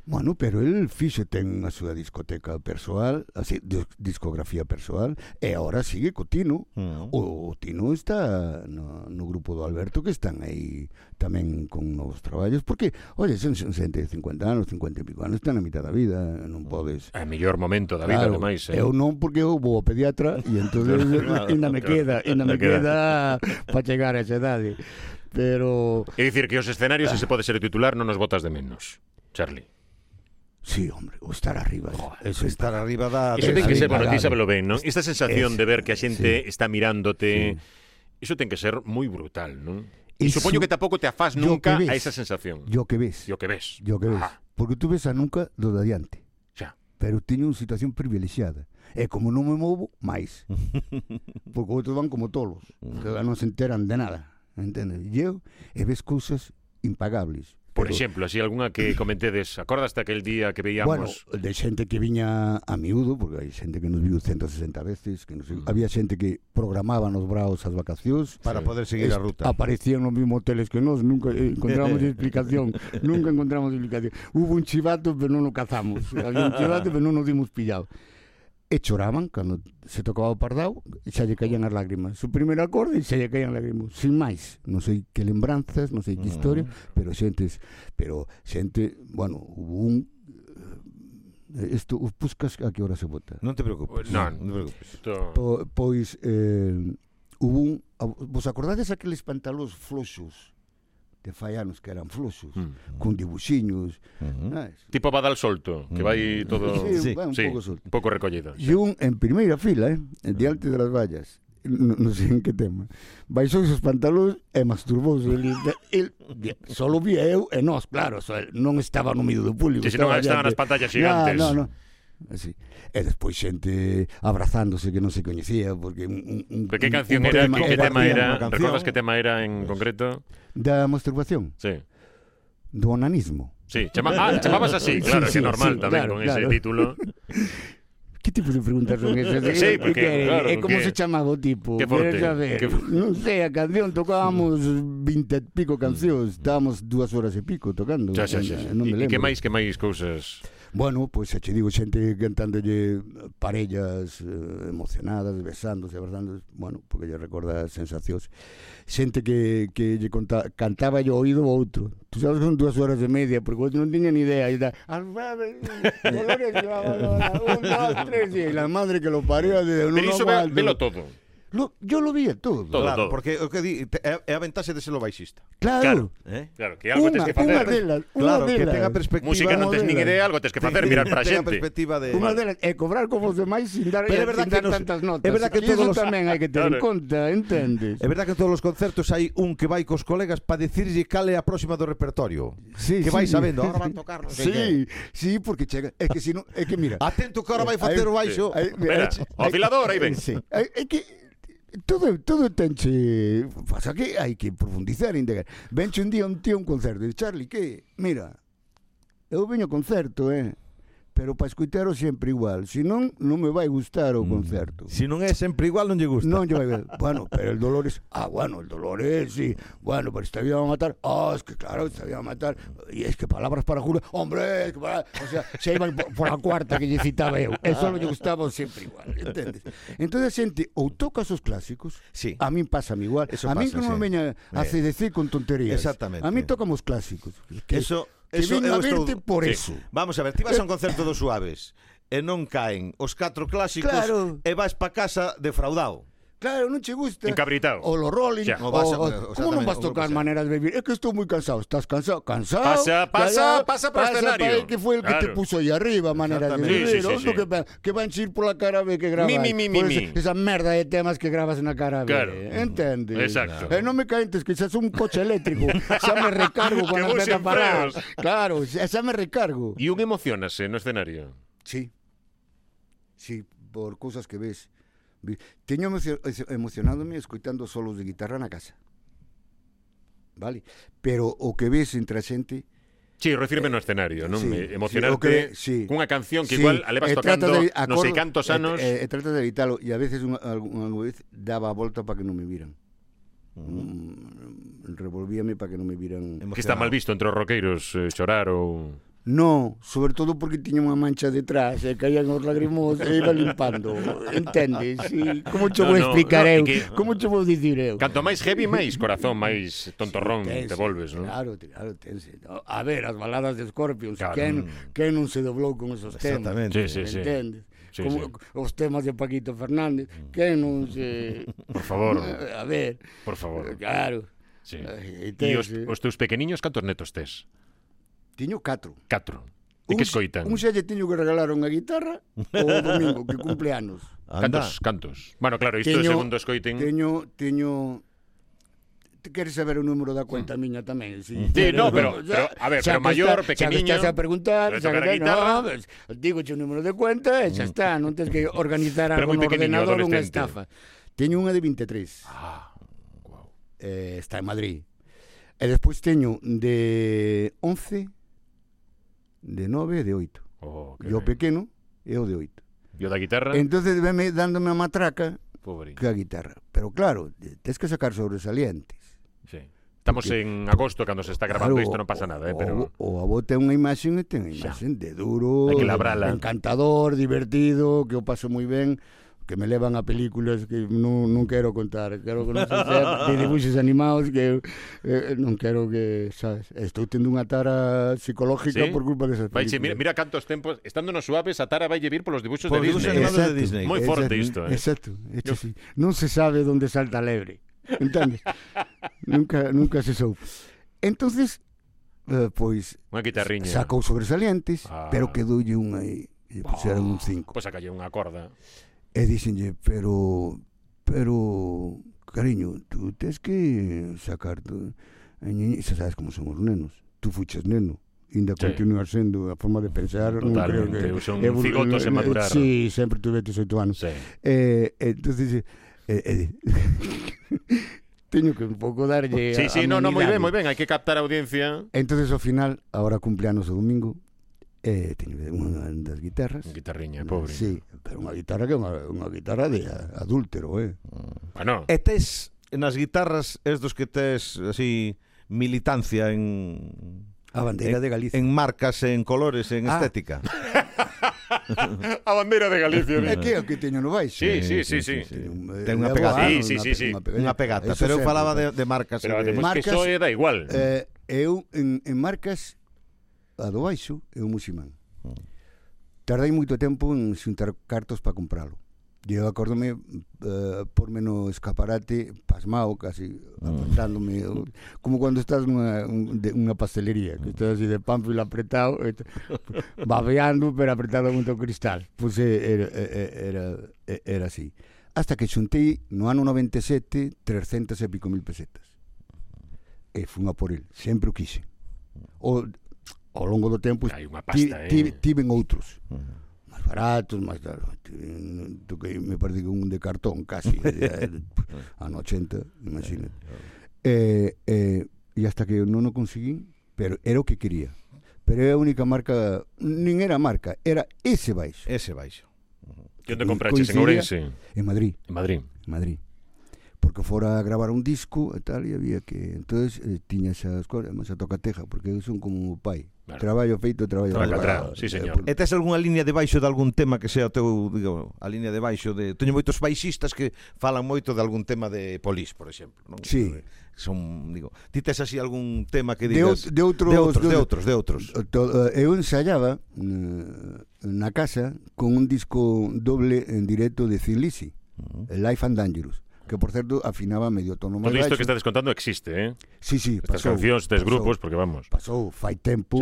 Speaker 3: Bueno, pero el fixo ten a súa discoteca persoal, así, dis- discografía persoal, e agora sigue co Tino.
Speaker 1: Uh,
Speaker 2: Mm.
Speaker 3: O, o Tino está no, no grupo do Alberto que están aí tamén con novos traballos, porque, oye, son, son xente de 50 anos, 50 e pico anos, están na mitad da vida, non podes...
Speaker 1: É o mellor momento da vida, ademais. Eh.
Speaker 3: eu non porque eu vou ao pediatra e entonces
Speaker 1: Claro,
Speaker 3: ainda me
Speaker 1: claro.
Speaker 5: Queda, y no
Speaker 1: Me
Speaker 5: me
Speaker 1: queda.
Speaker 5: queda para llegar a esa edad. Pero
Speaker 1: É dicir, que os escenarios, se se pode ser titular, non nos botas de menos. Charlie.
Speaker 3: Sí, hombre, o estar arriba. Eso
Speaker 2: Estar
Speaker 3: está
Speaker 2: arriba da...
Speaker 1: Iso
Speaker 2: da-
Speaker 1: ten que
Speaker 2: da
Speaker 1: ser, bueno, ti
Speaker 2: impagable.
Speaker 1: sabelo ben,
Speaker 3: Este
Speaker 1: non? Esta sensación de ver que a xente está mirándote, iso ten que ser moi brutal, non? E
Speaker 3: Iso-
Speaker 1: supoño que tampouco te afás
Speaker 3: Yo
Speaker 1: nunca
Speaker 3: que ves.
Speaker 1: a esa sensación.
Speaker 3: Yo que ves.
Speaker 1: Yo que ves.
Speaker 3: Yo que ves.
Speaker 1: Ajá,
Speaker 3: Porque tú ves a nunca do de adiante.
Speaker 1: xa.
Speaker 3: pero teño unha situación privilexiada. E como non me movo, máis. Porque outros van como tolos, que
Speaker 1: Mm.
Speaker 3: non se enteran de nada. Entendes? E eu, e ves cousas impagables.
Speaker 1: Por
Speaker 3: Pero,
Speaker 1: exemplo, así algunha que comentedes, acordaste aquel día que
Speaker 3: Bueno,
Speaker 1: veíamos...
Speaker 3: de xente que viña a miúdo, porque hai xente que nos viu 160 veces, que nos... mm. había xente que programaba nos braos as vacacións,
Speaker 2: Para poder seguir a ruta.
Speaker 5: aparecían los mismos hoteles que nos, nunca eh, encontramos explicación, nunca encontramos explicación. Hubo un chivato, pero no lo cazamos. Había un chivato, pero no nos dimos pillado. Eh,
Speaker 3: e choraban cando se tocaba o pardal, e xa lle caían as lágrimas. Su primeiro acorde e xa lle caían lágrimas, sin máis. Non sei que lembranzas, non sei que
Speaker 2: Mm.
Speaker 3: historia, pero xentes, pero xente, bueno, hubo un eh, isto os buscas a que hora se vota.
Speaker 2: Non te preocupes.
Speaker 1: Non.
Speaker 2: non te preocupes.
Speaker 1: Isto-
Speaker 3: Po, pois eh, hubo un a- vos acordades aqueles pantalóns floxos de faianos que eran floxos, mm. con dibuxiños,
Speaker 2: Ujú.
Speaker 3: mm.
Speaker 1: Hmm. Tipo Badal solto, que vai todo...
Speaker 3: Sí,
Speaker 2: Sí,
Speaker 3: vai un
Speaker 1: sí,
Speaker 3: pouco solto.
Speaker 1: un pouco recollido.
Speaker 3: E un en primeira fila, eh, diante das vallas. Non no sei en que tema. Baixou os pantalóns e masturbouse. Ele, el, só o vía eu e nós, claro, só el, non estaba no medio do público.
Speaker 1: Que se non estaban as
Speaker 3: diante.
Speaker 1: pantallas gigantes.
Speaker 3: No, no, no. Así. E despois xente abrazándose que non se coñecía porque un, un, un
Speaker 1: Pero que
Speaker 3: un-
Speaker 1: canción
Speaker 3: un
Speaker 1: era?
Speaker 3: tema-
Speaker 1: Que, que tema
Speaker 3: compartían
Speaker 1: era?
Speaker 3: unha canción Pues-
Speaker 1: Recordas que tema era en concreto?
Speaker 3: Da masturbación,
Speaker 1: Sí.
Speaker 3: do onanismo.
Speaker 1: Sí, chama- ah, chamabas así, claro, que
Speaker 5: Sí, sí,
Speaker 1: normal
Speaker 5: sí,
Speaker 1: tamén
Speaker 5: claro,
Speaker 1: con ese
Speaker 5: claro.
Speaker 1: título.
Speaker 5: ¿Qué tipo de preguntas son esas?
Speaker 1: Sí,
Speaker 5: Eh,
Speaker 1: porque,
Speaker 5: ¿qué?
Speaker 1: claro,
Speaker 5: Eh, ¿Cómo
Speaker 1: ¿qué?
Speaker 5: se llamaba o tipo?
Speaker 1: Qué fuerte,
Speaker 5: Quieres saber.
Speaker 1: qué fu-
Speaker 5: No sé, a canción tocábamos...
Speaker 1: Mm.
Speaker 3: Vinte e pico cancións, estábamos dúas horas e pico tocando.
Speaker 1: Xa, xa, xa.
Speaker 3: Eh,
Speaker 1: xa.
Speaker 3: Non me
Speaker 1: E, e
Speaker 3: lembro.
Speaker 1: que máis, que máis cousas?
Speaker 3: Bueno, pois pues, te digo xente cantándolle parellas eh, emocionadas, besándose, abrazándose, bueno, porque lle recorda sensacións. Xente que, que lle conta, cantaba yo oído o outro. Tú sabes que son dúas horas e media, porque outro non tiña ni idea. E da, "Al revés, colores, la, la, la, un, dos, tres, e la madre que lo parió,
Speaker 1: Pero
Speaker 3: de, non
Speaker 1: iso ve,
Speaker 3: aguanto".
Speaker 1: velo todo.
Speaker 3: Lo, yo lo vi todo.
Speaker 1: Todo,
Speaker 2: claro,
Speaker 1: todo.
Speaker 2: porque o que di, te- é é a ventaxe de ser o baixista.
Speaker 3: Claro.
Speaker 2: Eh?
Speaker 1: Claro, que algo tens que
Speaker 3: Unha- unha
Speaker 1: facer.
Speaker 3: delas, unha
Speaker 2: Claro, que
Speaker 3: delas.
Speaker 2: tenga perspectiva.
Speaker 1: Música non tes nin
Speaker 3: Modela.
Speaker 1: idea, algo tens que facer, mirar para a
Speaker 2: Tenga
Speaker 1: xente.
Speaker 2: perspectiva de...
Speaker 3: Unha delas é eh, cobrar como os demais sin dar, eh,
Speaker 2: Pero é verdad
Speaker 3: sin
Speaker 2: que
Speaker 3: dar
Speaker 2: nos-
Speaker 3: tantas notas.
Speaker 2: é verdad que
Speaker 3: E iso
Speaker 2: todos os-
Speaker 3: tamén hai que ter en
Speaker 1: Claro.
Speaker 3: conta, entendes?
Speaker 2: É verdad que en todos os concertos hai un que vai cos colegas para decirlle cal é a próxima do repertorio.
Speaker 3: Sí,
Speaker 2: que
Speaker 3: sí.
Speaker 2: vai sabendo, ahora van tocar, non sei que.
Speaker 3: Sí, sí, porque chega, é que si non, é que mira,
Speaker 2: Atento que ahora vai facer
Speaker 3: Aí-
Speaker 2: o baixo.
Speaker 3: Aí-
Speaker 1: Espera,
Speaker 3: aí-
Speaker 1: o afilador, aí ven.
Speaker 3: eh, Sí. É é que todo todo tenche, pasa que hai que profundizar e indagar. Venche un día un tío a un concerto e di, Charlie, que, mira, eu veño ao concerto, eh, pero para escoitaro sempre igual, se non non me vai gustar o concerto.
Speaker 2: Se non é sempre igual non lle gusta.
Speaker 3: Non lle vai ver. Bueno, pero el Dolores, ah, bueno, el Dolores, sí. Bueno, pero esta vida va a matar. Ah, es que claro, esta vida va a matar. Y es que palabras para Julio. Hombre, es que para... O sea, se iban por, por a cuarta que lle citaba eu. E só lle gustaba sempre igual, entendes? Entón a xente ou tocas os clásicos,
Speaker 2: Sí.
Speaker 3: a min pásame igual.
Speaker 2: Eso
Speaker 3: a min
Speaker 2: pasa,
Speaker 3: que
Speaker 2: sí.
Speaker 3: non me veña a
Speaker 2: Eh.
Speaker 3: CDC con tonterías.
Speaker 2: Exactamente.
Speaker 3: A min tocamos clásicos. Que,
Speaker 2: Eso,
Speaker 3: que
Speaker 2: eso
Speaker 3: vin a
Speaker 2: eu estou-
Speaker 3: verte por
Speaker 1: Sí.
Speaker 3: eso.
Speaker 2: Vamos a ver, ti vas a un concerto dos Suaves e non caen os catro clásicos
Speaker 3: Claro.
Speaker 2: e vas pa casa defraudado.
Speaker 3: Claro, non che gusta.
Speaker 1: Encabritado.
Speaker 3: O los Rolling.
Speaker 1: Ya.
Speaker 3: O,
Speaker 2: O vas a-
Speaker 3: o-
Speaker 2: exactamente,
Speaker 3: ¿Cómo no vas a
Speaker 2: o lo
Speaker 3: tocar
Speaker 2: que sea.
Speaker 3: maneras de vivir? Es que estoy muy cansado. ¿Estás cansado? ¿Cansado?
Speaker 1: Pasa,
Speaker 3: Ya,
Speaker 1: pasa,
Speaker 3: ya,
Speaker 1: pasa por el escenario.
Speaker 3: para ahí, que fue el que te
Speaker 1: Claro.
Speaker 3: puso ahí arriba, maneras de
Speaker 2: Exactamente.
Speaker 3: vivir.
Speaker 1: Sí, sí, sí,
Speaker 3: Otro
Speaker 1: sí.
Speaker 3: Que, va- que van a ir por la cara B que grabas.
Speaker 1: Mi, mi, mi, mi,
Speaker 3: Por
Speaker 1: mi.
Speaker 3: Esa, esa merda de temas que grabas en la cara B.
Speaker 1: Claro.
Speaker 3: ¿Entiendes?
Speaker 1: Exacto.
Speaker 3: Eh, no me calientes, quizás un coche eléctrico. ya me recargo
Speaker 1: Que
Speaker 3: con las
Speaker 1: voy sin
Speaker 3: metaparás.
Speaker 1: frenos.
Speaker 3: Claro, ya ya me recargo.
Speaker 1: E un emocionase no escenario.
Speaker 3: Sí. Sí, por cousas que ves. Vi- Teño emocio- ece- emocionándome escoitando solos de guitarra na casa. Vale? Pero o que ves entre a xente...
Speaker 1: Sí, refirme no escenario, non?
Speaker 3: sí,
Speaker 1: Eh,
Speaker 3: sí, o que-
Speaker 1: emocionarte
Speaker 3: sí.
Speaker 1: cunha canción que
Speaker 3: Sí,
Speaker 1: igual a levas
Speaker 3: e trata
Speaker 1: tocando
Speaker 3: de- eh,
Speaker 1: non sei
Speaker 3: acordo-
Speaker 1: cantos anos.
Speaker 3: E, e, e tratas de evitalo. E a veces, unha, algunha vez, daba a volta para que non me viran. Mm, revolvíame para que non me viran...
Speaker 1: Que está mal visto entre os roqueiros eh, chorar ou...
Speaker 3: No, sobre todo porque tiña unha mancha detrás e caían os lagrimos e iba limpando, entendes? Sí, como che
Speaker 1: No,
Speaker 3: vou
Speaker 1: no,
Speaker 3: explicar
Speaker 1: no, é
Speaker 3: eu?
Speaker 1: que-
Speaker 3: Como che vou dicir eu?
Speaker 1: Canto máis heavy, máis corazón, máis tontorrón
Speaker 3: Tense,
Speaker 1: te volves, non?
Speaker 3: Claro, te- claro, tense. No, A ver, as baladas de Scorpions,
Speaker 1: Claro.
Speaker 3: quen, quen non se doblou con esos temas?
Speaker 1: Sí,
Speaker 2: Exactamente.
Speaker 1: sí, sí.
Speaker 3: Entendes?
Speaker 1: Sí,
Speaker 3: como
Speaker 1: sí.
Speaker 3: os temas de Paquito Fernández, quen non se...
Speaker 1: Por favor,
Speaker 3: A ver,
Speaker 1: por favor.
Speaker 3: claro.
Speaker 1: Sí.
Speaker 3: Eh,
Speaker 1: E os,
Speaker 3: tense.
Speaker 1: os teus pequeniños, cantos netos tes?
Speaker 3: Tiño catro.
Speaker 1: Catro. E que
Speaker 3: Un-
Speaker 1: escoitan?
Speaker 3: Un xa lle teño que regalar unha guitarra o domingo, que cumple anos.
Speaker 1: Cantos, cantos. Bueno, claro, isto
Speaker 3: Teño-
Speaker 1: segundo escoiten.
Speaker 3: Teño, teño... Te queres saber o número da cuenta miña tamén? Si,
Speaker 1: Mm. Sí, no, pero- pero, a ver, pero maior, pequeniño,
Speaker 3: Xa que estás a preguntar,
Speaker 1: pero
Speaker 3: xa
Speaker 1: tocar a
Speaker 3: que
Speaker 1: guitarra. Mm.
Speaker 3: no, pues, digo o número de cuenta e xa está, non tens que organizar
Speaker 1: Pero moi
Speaker 3: algo no
Speaker 1: pequeniño,
Speaker 3: ordenador unha
Speaker 1: adolescente.
Speaker 3: estafa. Teño unha de 23,
Speaker 1: Ah, guau.
Speaker 3: eh, está en Madrid. E despois teño de 11, de 9 e de 8.
Speaker 1: Oh, que
Speaker 3: E o
Speaker 1: ben.
Speaker 3: pequeno é o de 8.
Speaker 1: E o da guitarra,
Speaker 3: Entonces veme dándome a matraca
Speaker 1: pobre.
Speaker 3: que a guitarra. Pero claro, tens que sacar sobresalientes.
Speaker 1: Sí. Estamos en agosto cando se está grabando isto, non pasa nada, eh,
Speaker 3: o-
Speaker 1: pero
Speaker 3: O, o avó ten unha imaxe e ten unha
Speaker 1: Xa.
Speaker 3: imaxe de duro,
Speaker 1: Hai que
Speaker 3: de
Speaker 1: labrala.
Speaker 3: encantador, divertido, que o paso moi ben, que me levan a películas que non, non quero contar, quero que non se sea de dibuxos animados que eh, non quero que, sabes, estou tendo unha tara psicológica
Speaker 1: Sí?
Speaker 3: por culpa desas películas.
Speaker 1: Vaiche, mira, mira cantos tempos, estando nos suaves, a Tara vai vir polos dibuxos
Speaker 2: Por
Speaker 1: de
Speaker 2: dibuxos
Speaker 1: Disney.
Speaker 2: animados de Disney.
Speaker 1: Moi forte isto, eh.
Speaker 3: Exacto, isto sí. Non se sabe onde salta a lebre. Entendes? nunca, nunca se soupo. Entonces, eh, pois,
Speaker 1: Unha guitarriña.
Speaker 3: sacou sobresalientes,
Speaker 1: Ah.
Speaker 3: pero quedoulle un aí, e puseron un 5.
Speaker 1: Pois sacalle unha corda.
Speaker 3: E dixenlle, pero, pero, cariño, tú tens que sacar tu... eh, a ñi- Xa sabes como son os nenos. Tú fuches neno. Ainda
Speaker 1: Sí.
Speaker 3: continuar sendo a forma de pensar. non
Speaker 1: Totalmente,
Speaker 3: creo que,
Speaker 1: son
Speaker 3: evolu- eh,
Speaker 1: cigotos en madurar.
Speaker 3: Sí, sempre tuve 18 anos.
Speaker 1: Sí.
Speaker 3: Eh, entonces, eh, eh, teño que un eh, pouco darlle
Speaker 1: Sí,
Speaker 3: a-
Speaker 1: sí, no, no, moi ben,
Speaker 3: amenidade.
Speaker 1: moi ben, hai que captar a audiencia.
Speaker 3: Entonces, ao final, agora cumpleanos o domingo, eh, teño que dar unha das guitarras.
Speaker 1: Guitarriña, pobre.
Speaker 3: Sí, pero unha guitarra que é unha, unha guitarra de a- adúltero, eh.
Speaker 1: Ah, no.
Speaker 2: E tes nas guitarras es dos que tes así militancia en
Speaker 3: A bandeira de Galicia.
Speaker 2: en marcas, en colores, en
Speaker 3: Ah.
Speaker 2: estética.
Speaker 1: Eh, A bandeira de Galicia.
Speaker 3: É que é o que teño no baixo.
Speaker 1: Sí, sí, sí, sí.
Speaker 3: eh,
Speaker 2: Ten unha pegata.
Speaker 1: Sí, sí, sí, sí.
Speaker 2: Unha pegata, pero eu falaba de, de marcas.
Speaker 1: Pero
Speaker 2: e de...
Speaker 1: depois que
Speaker 3: Marcas-
Speaker 1: iso é da igual.
Speaker 3: Eh, eu en, en marcas e a do baixo é o Muximán. Tardei moito tempo en xuntar cartos para compralo. Yo acordome eh, porme no escaparate pasmao casi apretándome o- como cuando estás nunha un, de unha pastelería, que estás así de pánfilo apretado, et- babeando pero apretado contra o cristal. Pois eh, era era era, eh, era así. Hasta que xuntei no ano 97 300 e pico mil pesetas. E fun a por el, sempre o quixen. O ao longo do tempo
Speaker 1: Hai unha
Speaker 3: ti-
Speaker 1: pasta,
Speaker 3: ti-
Speaker 1: eh.
Speaker 3: tiven outros máis baratos, máis tal. Tiven- Toquei, me parece que un de cartón casi, eh, de- ano 80, imagínate. Eh, eh, e hasta que non o conseguín, pero era o que quería. Pero era a única marca, nin era marca, era ese
Speaker 1: Eh.
Speaker 3: baixo,
Speaker 2: Ese baixo.
Speaker 1: Que onde
Speaker 3: Co-
Speaker 1: compraches en
Speaker 3: coincidía-
Speaker 1: Ourense,
Speaker 3: en Madrid.
Speaker 1: en Madrid.
Speaker 3: en Madrid. Porque fora a gravar un disco e tal, e había que... entonces eh, tiña esas cosas, mas a tocateja, porque eu son como o pai.
Speaker 1: Claro.
Speaker 3: Traballo feito, traballo
Speaker 1: Tracatrá,
Speaker 3: feito.
Speaker 1: sí, señor.
Speaker 3: Eh, por-
Speaker 2: E tes algunha liña de baixo de algún tema que sea o teu, digo, a liña de baixo de teño moitos baixistas que falan moito de algún tema de Polis, por exemplo, non?
Speaker 3: Sí.
Speaker 2: Son, digo, ti tes así algún tema que
Speaker 3: de, ou-
Speaker 2: digas
Speaker 3: de outros,
Speaker 2: de outros, de outros, de outros.
Speaker 3: To- eh, Eu ensaiaba eh, na casa con un disco doble en directo de Thin Lizzy,
Speaker 1: Mm.
Speaker 3: Life and Dangerous, que por certo afinaba medio tono máis
Speaker 1: Todo isto
Speaker 3: baixo.
Speaker 1: que estades contando existe, eh?
Speaker 3: Sí, sí,
Speaker 1: Estas
Speaker 3: pasou,
Speaker 1: cancións, estes
Speaker 3: pasou,
Speaker 1: grupos, porque vamos.
Speaker 3: Pasou, fai tempo,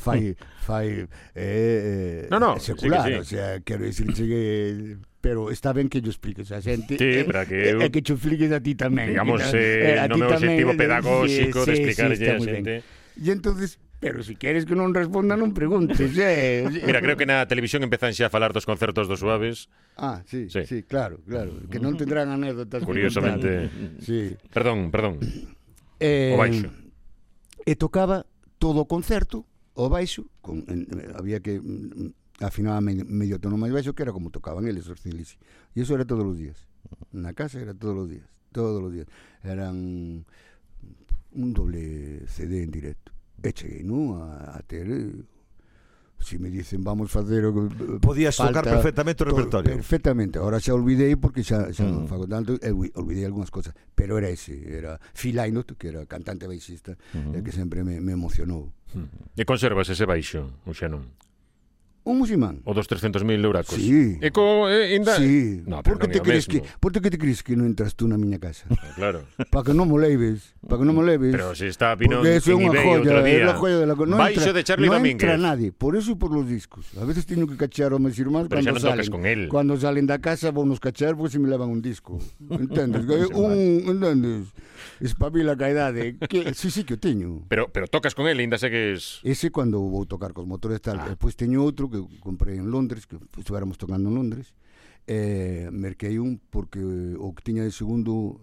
Speaker 3: fai, fai eh, eh,
Speaker 1: No, no,
Speaker 3: secular,
Speaker 1: sí que sí.
Speaker 3: o sea, quero dicir que pero está ben que yo expliques a xente
Speaker 1: Sí,
Speaker 3: eh,
Speaker 1: para que eu-
Speaker 3: eh, que yo expliques a ti tamén
Speaker 1: Digamos,
Speaker 3: que na-
Speaker 1: eh,
Speaker 3: eh, a
Speaker 1: no
Speaker 3: ti
Speaker 1: meu
Speaker 3: tamén,
Speaker 1: objetivo
Speaker 3: eh,
Speaker 1: pedagóxico de
Speaker 3: sí, sí,
Speaker 1: explicarlle
Speaker 3: está
Speaker 1: a
Speaker 3: moi ben.
Speaker 1: xente.
Speaker 3: E entonces, pero si queres que non responda, non preguntes, eh.
Speaker 1: Mira, creo que na televisión empezan xa a falar dos concertos dos suaves.
Speaker 3: Ah, sí,
Speaker 1: Sí.
Speaker 3: sí, sí, claro, claro, que non tendrán anécdotas. que
Speaker 1: Curiosamente.
Speaker 3: contar. Sí.
Speaker 1: Perdón, perdón. O
Speaker 3: Eh,
Speaker 1: baixo.
Speaker 3: E tocaba todo o concerto o baixo, con, en, había que mm, afinaba medio, medio tono máis baixo que era como tocaban eles os Cilisi. E iso era todos os días. Na casa era todos os días, todos os días. Eran un doble CD en directo. E cheguei, non, a, a ter... eh, Si me dicen vamos facer o que-
Speaker 2: Podías tocar
Speaker 3: falta-
Speaker 2: perfectamente o
Speaker 3: todo-
Speaker 2: repertorio.
Speaker 3: Perfectamente. Ahora xa olvidei porque xa, xa
Speaker 1: Mm.
Speaker 3: non fago tanto, e ui- olvidei algunhas cosas, pero era ese, era Phil Lynott, que era cantante baixista,
Speaker 1: Mm.
Speaker 3: eh, que sempre me, me emocionou.
Speaker 1: E conservas ese baixo, ou xa non?
Speaker 3: Un musimán.
Speaker 1: O dos 300.000 euracos.
Speaker 3: Sí.
Speaker 1: E co, e, inda...
Speaker 3: Sí,
Speaker 1: No, pero
Speaker 3: por
Speaker 1: non é
Speaker 3: que te
Speaker 1: o
Speaker 3: crees que
Speaker 1: mesmo.
Speaker 3: por que te crees que non entras tú na miña casa?
Speaker 1: Claro.
Speaker 3: Para que non mo leives, para que non mo leives.
Speaker 1: Pero se está vino en
Speaker 3: Porque eso é unha
Speaker 1: eBay outro
Speaker 3: joya, é
Speaker 1: día.
Speaker 3: unha joya de la... co- non
Speaker 1: baixo
Speaker 3: entra,
Speaker 1: de Charlie
Speaker 3: non
Speaker 1: Domínguez.
Speaker 3: entra nadie, por eso e por los discos. A veces teño que cachar a meus irmáns
Speaker 1: Pero xa
Speaker 3: cando
Speaker 1: non
Speaker 3: salen.
Speaker 1: tocas con él.
Speaker 3: Cando salen da casa vou nos cachar porque se me levan un disco. Entendes? Que é un, entendes? Espabila ca idade. Que, sí, sí que o teño.
Speaker 1: Pero, pero tocas con él, ainda segues...
Speaker 3: Ese cando vou tocar cos motores tal.
Speaker 1: Ah.
Speaker 3: Ah. Despois teño outro que comprei en Londres, que estivéramos tocando en Londres. Eh, merquei un porque o que tiña de segundo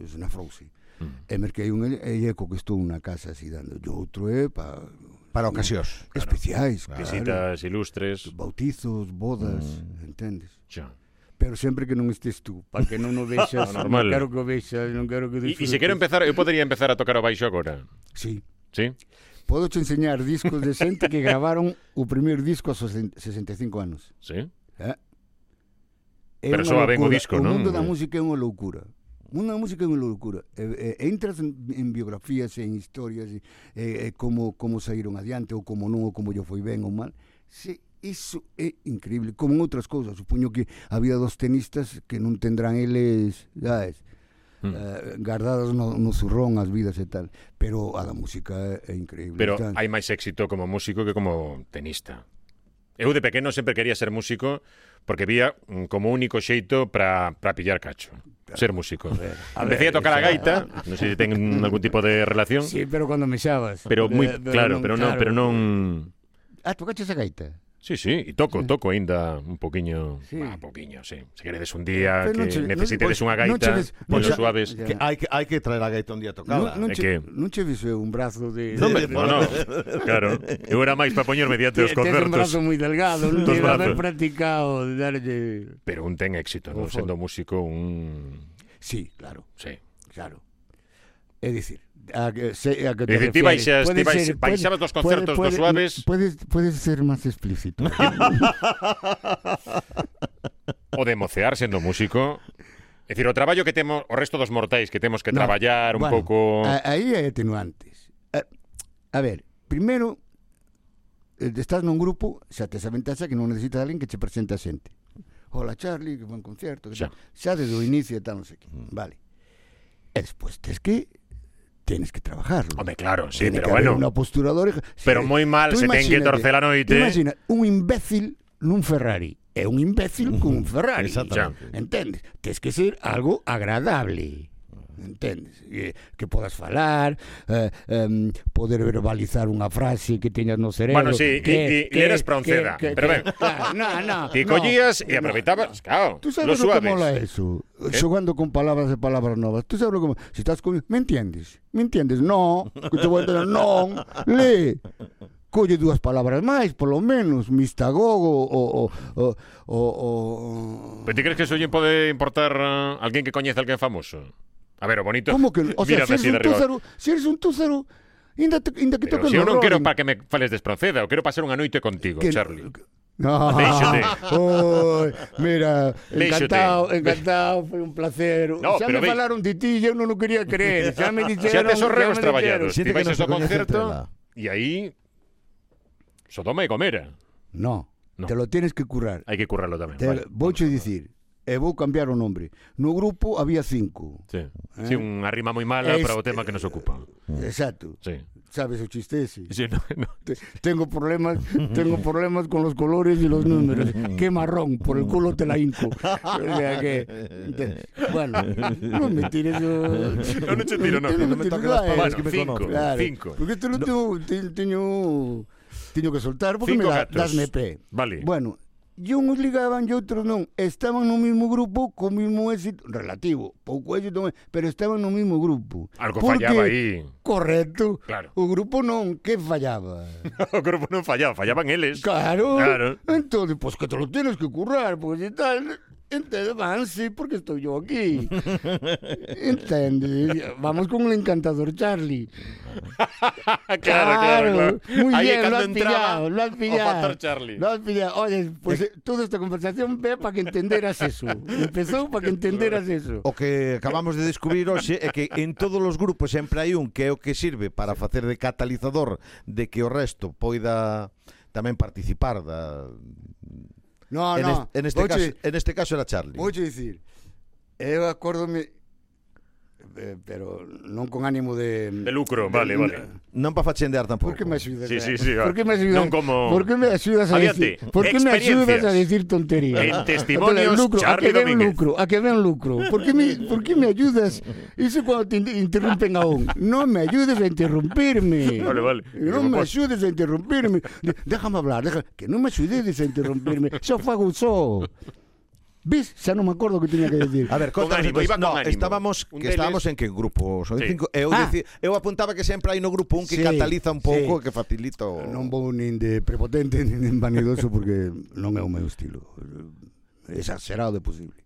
Speaker 3: eh, é na Frouse. Mm. E merquei un e e é co que estou na casa así dando. E outro é pa
Speaker 2: Para ocasións.
Speaker 3: especiais, claro.
Speaker 1: Visitas Mm. ilustres.
Speaker 3: Bautizos, bodas, entendes?
Speaker 1: Xa.
Speaker 3: Pero sempre que non estes tú, para que non o vexas,
Speaker 1: Ah, normal.
Speaker 3: non quero que o vexas, non quero que o
Speaker 1: E e
Speaker 3: disfrutes.
Speaker 1: se quero empezar, eu podería empezar a tocar o baixo agora.
Speaker 3: Sí.
Speaker 1: Sí?
Speaker 3: Podo te enseñar discos de xente que gravaron o primeiro disco aos 65 anos.
Speaker 1: Sí?
Speaker 3: Eh?
Speaker 1: Pero
Speaker 3: unha
Speaker 1: soa ben o
Speaker 3: loucura.
Speaker 1: disco,
Speaker 3: o
Speaker 1: non?
Speaker 3: mundo da música é unha loucura. O mundo da música é unha loucura. E, e, entras en, en biografías, en historias, e, e, e como, como saíron adiante, ou como non, ou como yo foi ben ou mal. Se, iso é increíble, como en outras cousas. Supoño que había dos tenistas que non tendrán eles, sabes,
Speaker 1: Mm.
Speaker 3: eh, guardadas no, no zurrón as vidas e tal. Pero a da música é, é increíble.
Speaker 1: Pero
Speaker 3: Está-
Speaker 1: hai máis éxito como músico que como tenista. Eu de pequeno sempre quería ser músico porque vía mm, como único xeito para para pillar cacho. Ser músico. Empecé a tocar a gaita, non sei se ten algún tipo de relación,
Speaker 3: Sí, pero cando me xabas.
Speaker 1: pero moi
Speaker 3: Eh,
Speaker 1: claro, pero non, pero non
Speaker 3: Ah, tocaches a gaita?
Speaker 1: Sí, sí, e toco, toco aínda un poquiño, sí.
Speaker 3: Sí.
Speaker 1: ah, poquiño, sí. Se queredes un día
Speaker 3: Pero non
Speaker 1: que
Speaker 3: che- non-
Speaker 1: necesitedes
Speaker 3: pois,
Speaker 1: unha
Speaker 3: non
Speaker 1: gaita,
Speaker 3: chegues- non
Speaker 1: polos
Speaker 3: che-
Speaker 1: suaves.
Speaker 3: Ya.
Speaker 2: Que hai que hai que traer a gaita un día tocada.
Speaker 3: Non, non,
Speaker 1: é que-
Speaker 3: che, non che vise un brazo de...
Speaker 1: Non,
Speaker 3: de,
Speaker 1: me- no, no, claro. Eu era máis para poñerme diante dos
Speaker 3: Te- tes un brazo
Speaker 1: concertos.
Speaker 3: moi delgado, non
Speaker 1: Dos
Speaker 3: debe haber
Speaker 1: brazos.
Speaker 3: practicado de darlle...
Speaker 1: Pero un ten éxito, non
Speaker 3: Ojo.
Speaker 1: sendo músico un...
Speaker 3: Sí, claro,
Speaker 1: Sí.
Speaker 3: claro. É dicir, a que, se, a que te
Speaker 1: É dicir, ti
Speaker 3: refieres.
Speaker 1: baixas-
Speaker 3: Puede
Speaker 1: ti baix-
Speaker 3: ser-
Speaker 1: baixabas dos concertos dos Suaves.
Speaker 3: Puedes, puedes ser máis explícito.
Speaker 1: O de mocear sendo músico. É dicir, o traballo que temos, o resto dos mortais que temos que
Speaker 3: No,
Speaker 1: traballar un
Speaker 3: bueno, eh,
Speaker 1: pouco...
Speaker 3: a- Aí hai atenuantes. A, a ver, primeiro, eh, estás nun grupo, xa tes a ventaxa que non necesitas alguén que che presente a xente. hola Charlie, que buen concierto. que
Speaker 1: Xa.
Speaker 3: tal. Xa desde o inicio e tal, non sei que.
Speaker 1: Mm.
Speaker 3: Vale. E despois tes que tienes que trabajarlo.
Speaker 1: Hombre, claro, sí,
Speaker 3: Tiene
Speaker 1: pero
Speaker 3: que haber
Speaker 1: bueno.
Speaker 3: Una postura de oreja. Sí,
Speaker 1: Pero muy mal,
Speaker 3: tú
Speaker 1: se ten que
Speaker 3: imagínate,
Speaker 1: torcer la noite.
Speaker 3: tú Imagina, un imbécil nun Ferrari é un imbécil cun Ferrari.
Speaker 1: Exactamente.
Speaker 3: Xa. Entendes? Tes que ser algo agradable. Entendes? E Que podas falar, eh, em, poder verbalizar unha frase que teñas no
Speaker 1: Bueno,
Speaker 3: cerebro.
Speaker 1: sí, y- y-
Speaker 3: que,
Speaker 1: y eras pronceda, pero ben.
Speaker 3: claro, no, no,
Speaker 1: Ti
Speaker 3: no,
Speaker 1: collías e
Speaker 3: no,
Speaker 1: aproveitabas, claro,
Speaker 3: Tú
Speaker 1: lo
Speaker 3: sabes lo que
Speaker 1: suaves. ¿Eh?
Speaker 3: mola eso. Jugando con palabras de palabras nuevas. Tú sabes lo que mola. Si estás con... ¿Me entiendes? ¿Me entiendes? No. Que te voy a entender. No. Lee. Colle dúas palabras máis, polo menos, mistagogo o... o, o, o, o...
Speaker 1: ¿Pero ti crees que eso oye, puede importar a alguien que coñece a alguien famoso? A ver, o bonito.
Speaker 3: Como que... O sea,
Speaker 1: Mírate
Speaker 3: si eres
Speaker 1: así de
Speaker 3: un
Speaker 1: arriba.
Speaker 3: túzaro, si eres un túzaro, inda, te, inda que
Speaker 1: Pero
Speaker 3: toques
Speaker 1: si eu
Speaker 3: no
Speaker 1: non quero
Speaker 3: Rolling.
Speaker 1: para que me fales despronceda, eu quero pasar unha noite contigo,
Speaker 3: Que-
Speaker 1: Charlie.
Speaker 3: No.
Speaker 1: Déixote.
Speaker 3: Oi, mira,
Speaker 1: Déixote.
Speaker 3: encantado, encantado, foi un placer.
Speaker 1: No,
Speaker 3: xa
Speaker 1: pero
Speaker 3: me
Speaker 1: ve-
Speaker 3: falaron de ti, eu non o quería creer. Xa me
Speaker 1: Xa
Speaker 3: dixeron.
Speaker 1: tes os regos
Speaker 3: xa me
Speaker 1: traballados. Ti
Speaker 2: Xente que
Speaker 1: vais ao
Speaker 2: non se coñece entre nada.
Speaker 1: concerto e aí Sodoma e Gomera.
Speaker 3: dixeron. No,
Speaker 1: No.
Speaker 3: no, te lo tienes que currar.
Speaker 1: Hai que currarlo tamén.
Speaker 3: Te,
Speaker 1: Vale.
Speaker 3: vou che dicir, e vou cambiar o nombre. No grupo había cinco.
Speaker 1: Sí.
Speaker 3: ¿Eh?
Speaker 1: sí, unha rima moi mala
Speaker 3: Este-
Speaker 1: para o tema que nos ocupa.
Speaker 3: Exacto.
Speaker 1: Sí.
Speaker 3: Sabes o chiste ese.
Speaker 1: Mm. Sí, no, no.
Speaker 3: Te- Tengo problemas, tengo problemas con los colores y los números. Qué marrón, por el culo te la hinco. O sea que, ente- bueno, no me tires yo.
Speaker 1: No, non che tiro, non.
Speaker 3: Yo
Speaker 1: Non
Speaker 2: me
Speaker 3: tiro
Speaker 2: toques las
Speaker 3: nada,
Speaker 1: Bueno,
Speaker 2: que me
Speaker 1: cinco,
Speaker 2: conozco.
Speaker 3: claro,
Speaker 1: cinco.
Speaker 3: Porque te lo tengo, te- teño, teño que soltar porque
Speaker 1: Cinco
Speaker 3: me da,
Speaker 1: gatos.
Speaker 3: dasme pé.
Speaker 1: Vale.
Speaker 3: Bueno, y unos ligaban y otros no. Estaban no mismo grupo con mismo éxito, relativo, pouco éxito, pero estaban no mismo grupo.
Speaker 1: Algo
Speaker 3: Porque-
Speaker 1: fallaba aí.
Speaker 3: Correcto.
Speaker 1: Claro.
Speaker 3: O grupo non, que fallaba.
Speaker 1: O corpo non fallaba, fallaban eles.
Speaker 3: Claro.
Speaker 1: Claro.
Speaker 3: Entonces, pues que te lo tienes que currar, porque si tal. Entonces, van, sí, porque estoy yo aquí. ¿Entiendes? Vamos con el encantador Charlie.
Speaker 1: claro, claro, claro.
Speaker 3: Muy
Speaker 1: Aí é
Speaker 3: bien, lo
Speaker 1: cando
Speaker 3: has pillado, lo has
Speaker 1: O
Speaker 3: pillado.
Speaker 1: factor Charlie.
Speaker 3: Lo has pillado. Oye, pues eh, toda esta conversación ve para que entenderas eso. Empezó para que entenderas eso.
Speaker 2: O que acabamos de descubrir hoxe é que en todos os grupos sempre hai un que é o que sirve para facer de catalizador de que o resto poida tamén participar da
Speaker 3: No,
Speaker 2: en,
Speaker 3: no.
Speaker 2: es- en este
Speaker 3: Oye,
Speaker 2: caso en este caso era Charlie.
Speaker 3: Vou che dicir, eu acórdome, eh, pero non con ánimo de...
Speaker 1: De lucro, vale, vale.
Speaker 2: Non para fachendear tampouco.
Speaker 3: Por que me axudas?
Speaker 1: Sí,
Speaker 3: a-
Speaker 1: sí, sí, va.
Speaker 3: Por que me axudas?
Speaker 1: Non como-
Speaker 3: Por que me axudas a
Speaker 1: Adiante,
Speaker 3: decir? Por que me axudas a
Speaker 1: experiencias.
Speaker 3: decir tonterías?
Speaker 1: En testimonios,
Speaker 3: A lucro, a
Speaker 1: Charlie
Speaker 3: que ven
Speaker 1: Domínguez.
Speaker 3: lucro, a que ven lucro. Por que me, por que me ayudas? Iso cando te in- interrumpen aún. Non me ayudes a interrumpirme.
Speaker 1: Vale, vale.
Speaker 3: Non me axudes a interrumpirme. De- Déjame hablar, deja, que non me axudedes a interrumpirme. Xa o fago só. Ves? Xa non me acordo o que tiña que decir.
Speaker 2: A ver,
Speaker 1: Con
Speaker 2: contanos,
Speaker 1: ánimo,
Speaker 2: pois,
Speaker 1: iba con
Speaker 2: no,
Speaker 1: ánimo.
Speaker 2: estábamos
Speaker 1: Un deles-
Speaker 2: que estábamos en que grupo? Son
Speaker 1: Sí.
Speaker 2: cinco, eu,
Speaker 3: Ah.
Speaker 2: dici- eu apuntaba que sempre hai no grupo un que
Speaker 3: Sí,
Speaker 2: cataliza un pouco,
Speaker 3: sí.
Speaker 2: que facilita o...
Speaker 3: Eh, Non vou nin de prepotente nin de vanidoso porque non é o meu estilo. Exagerado é posible.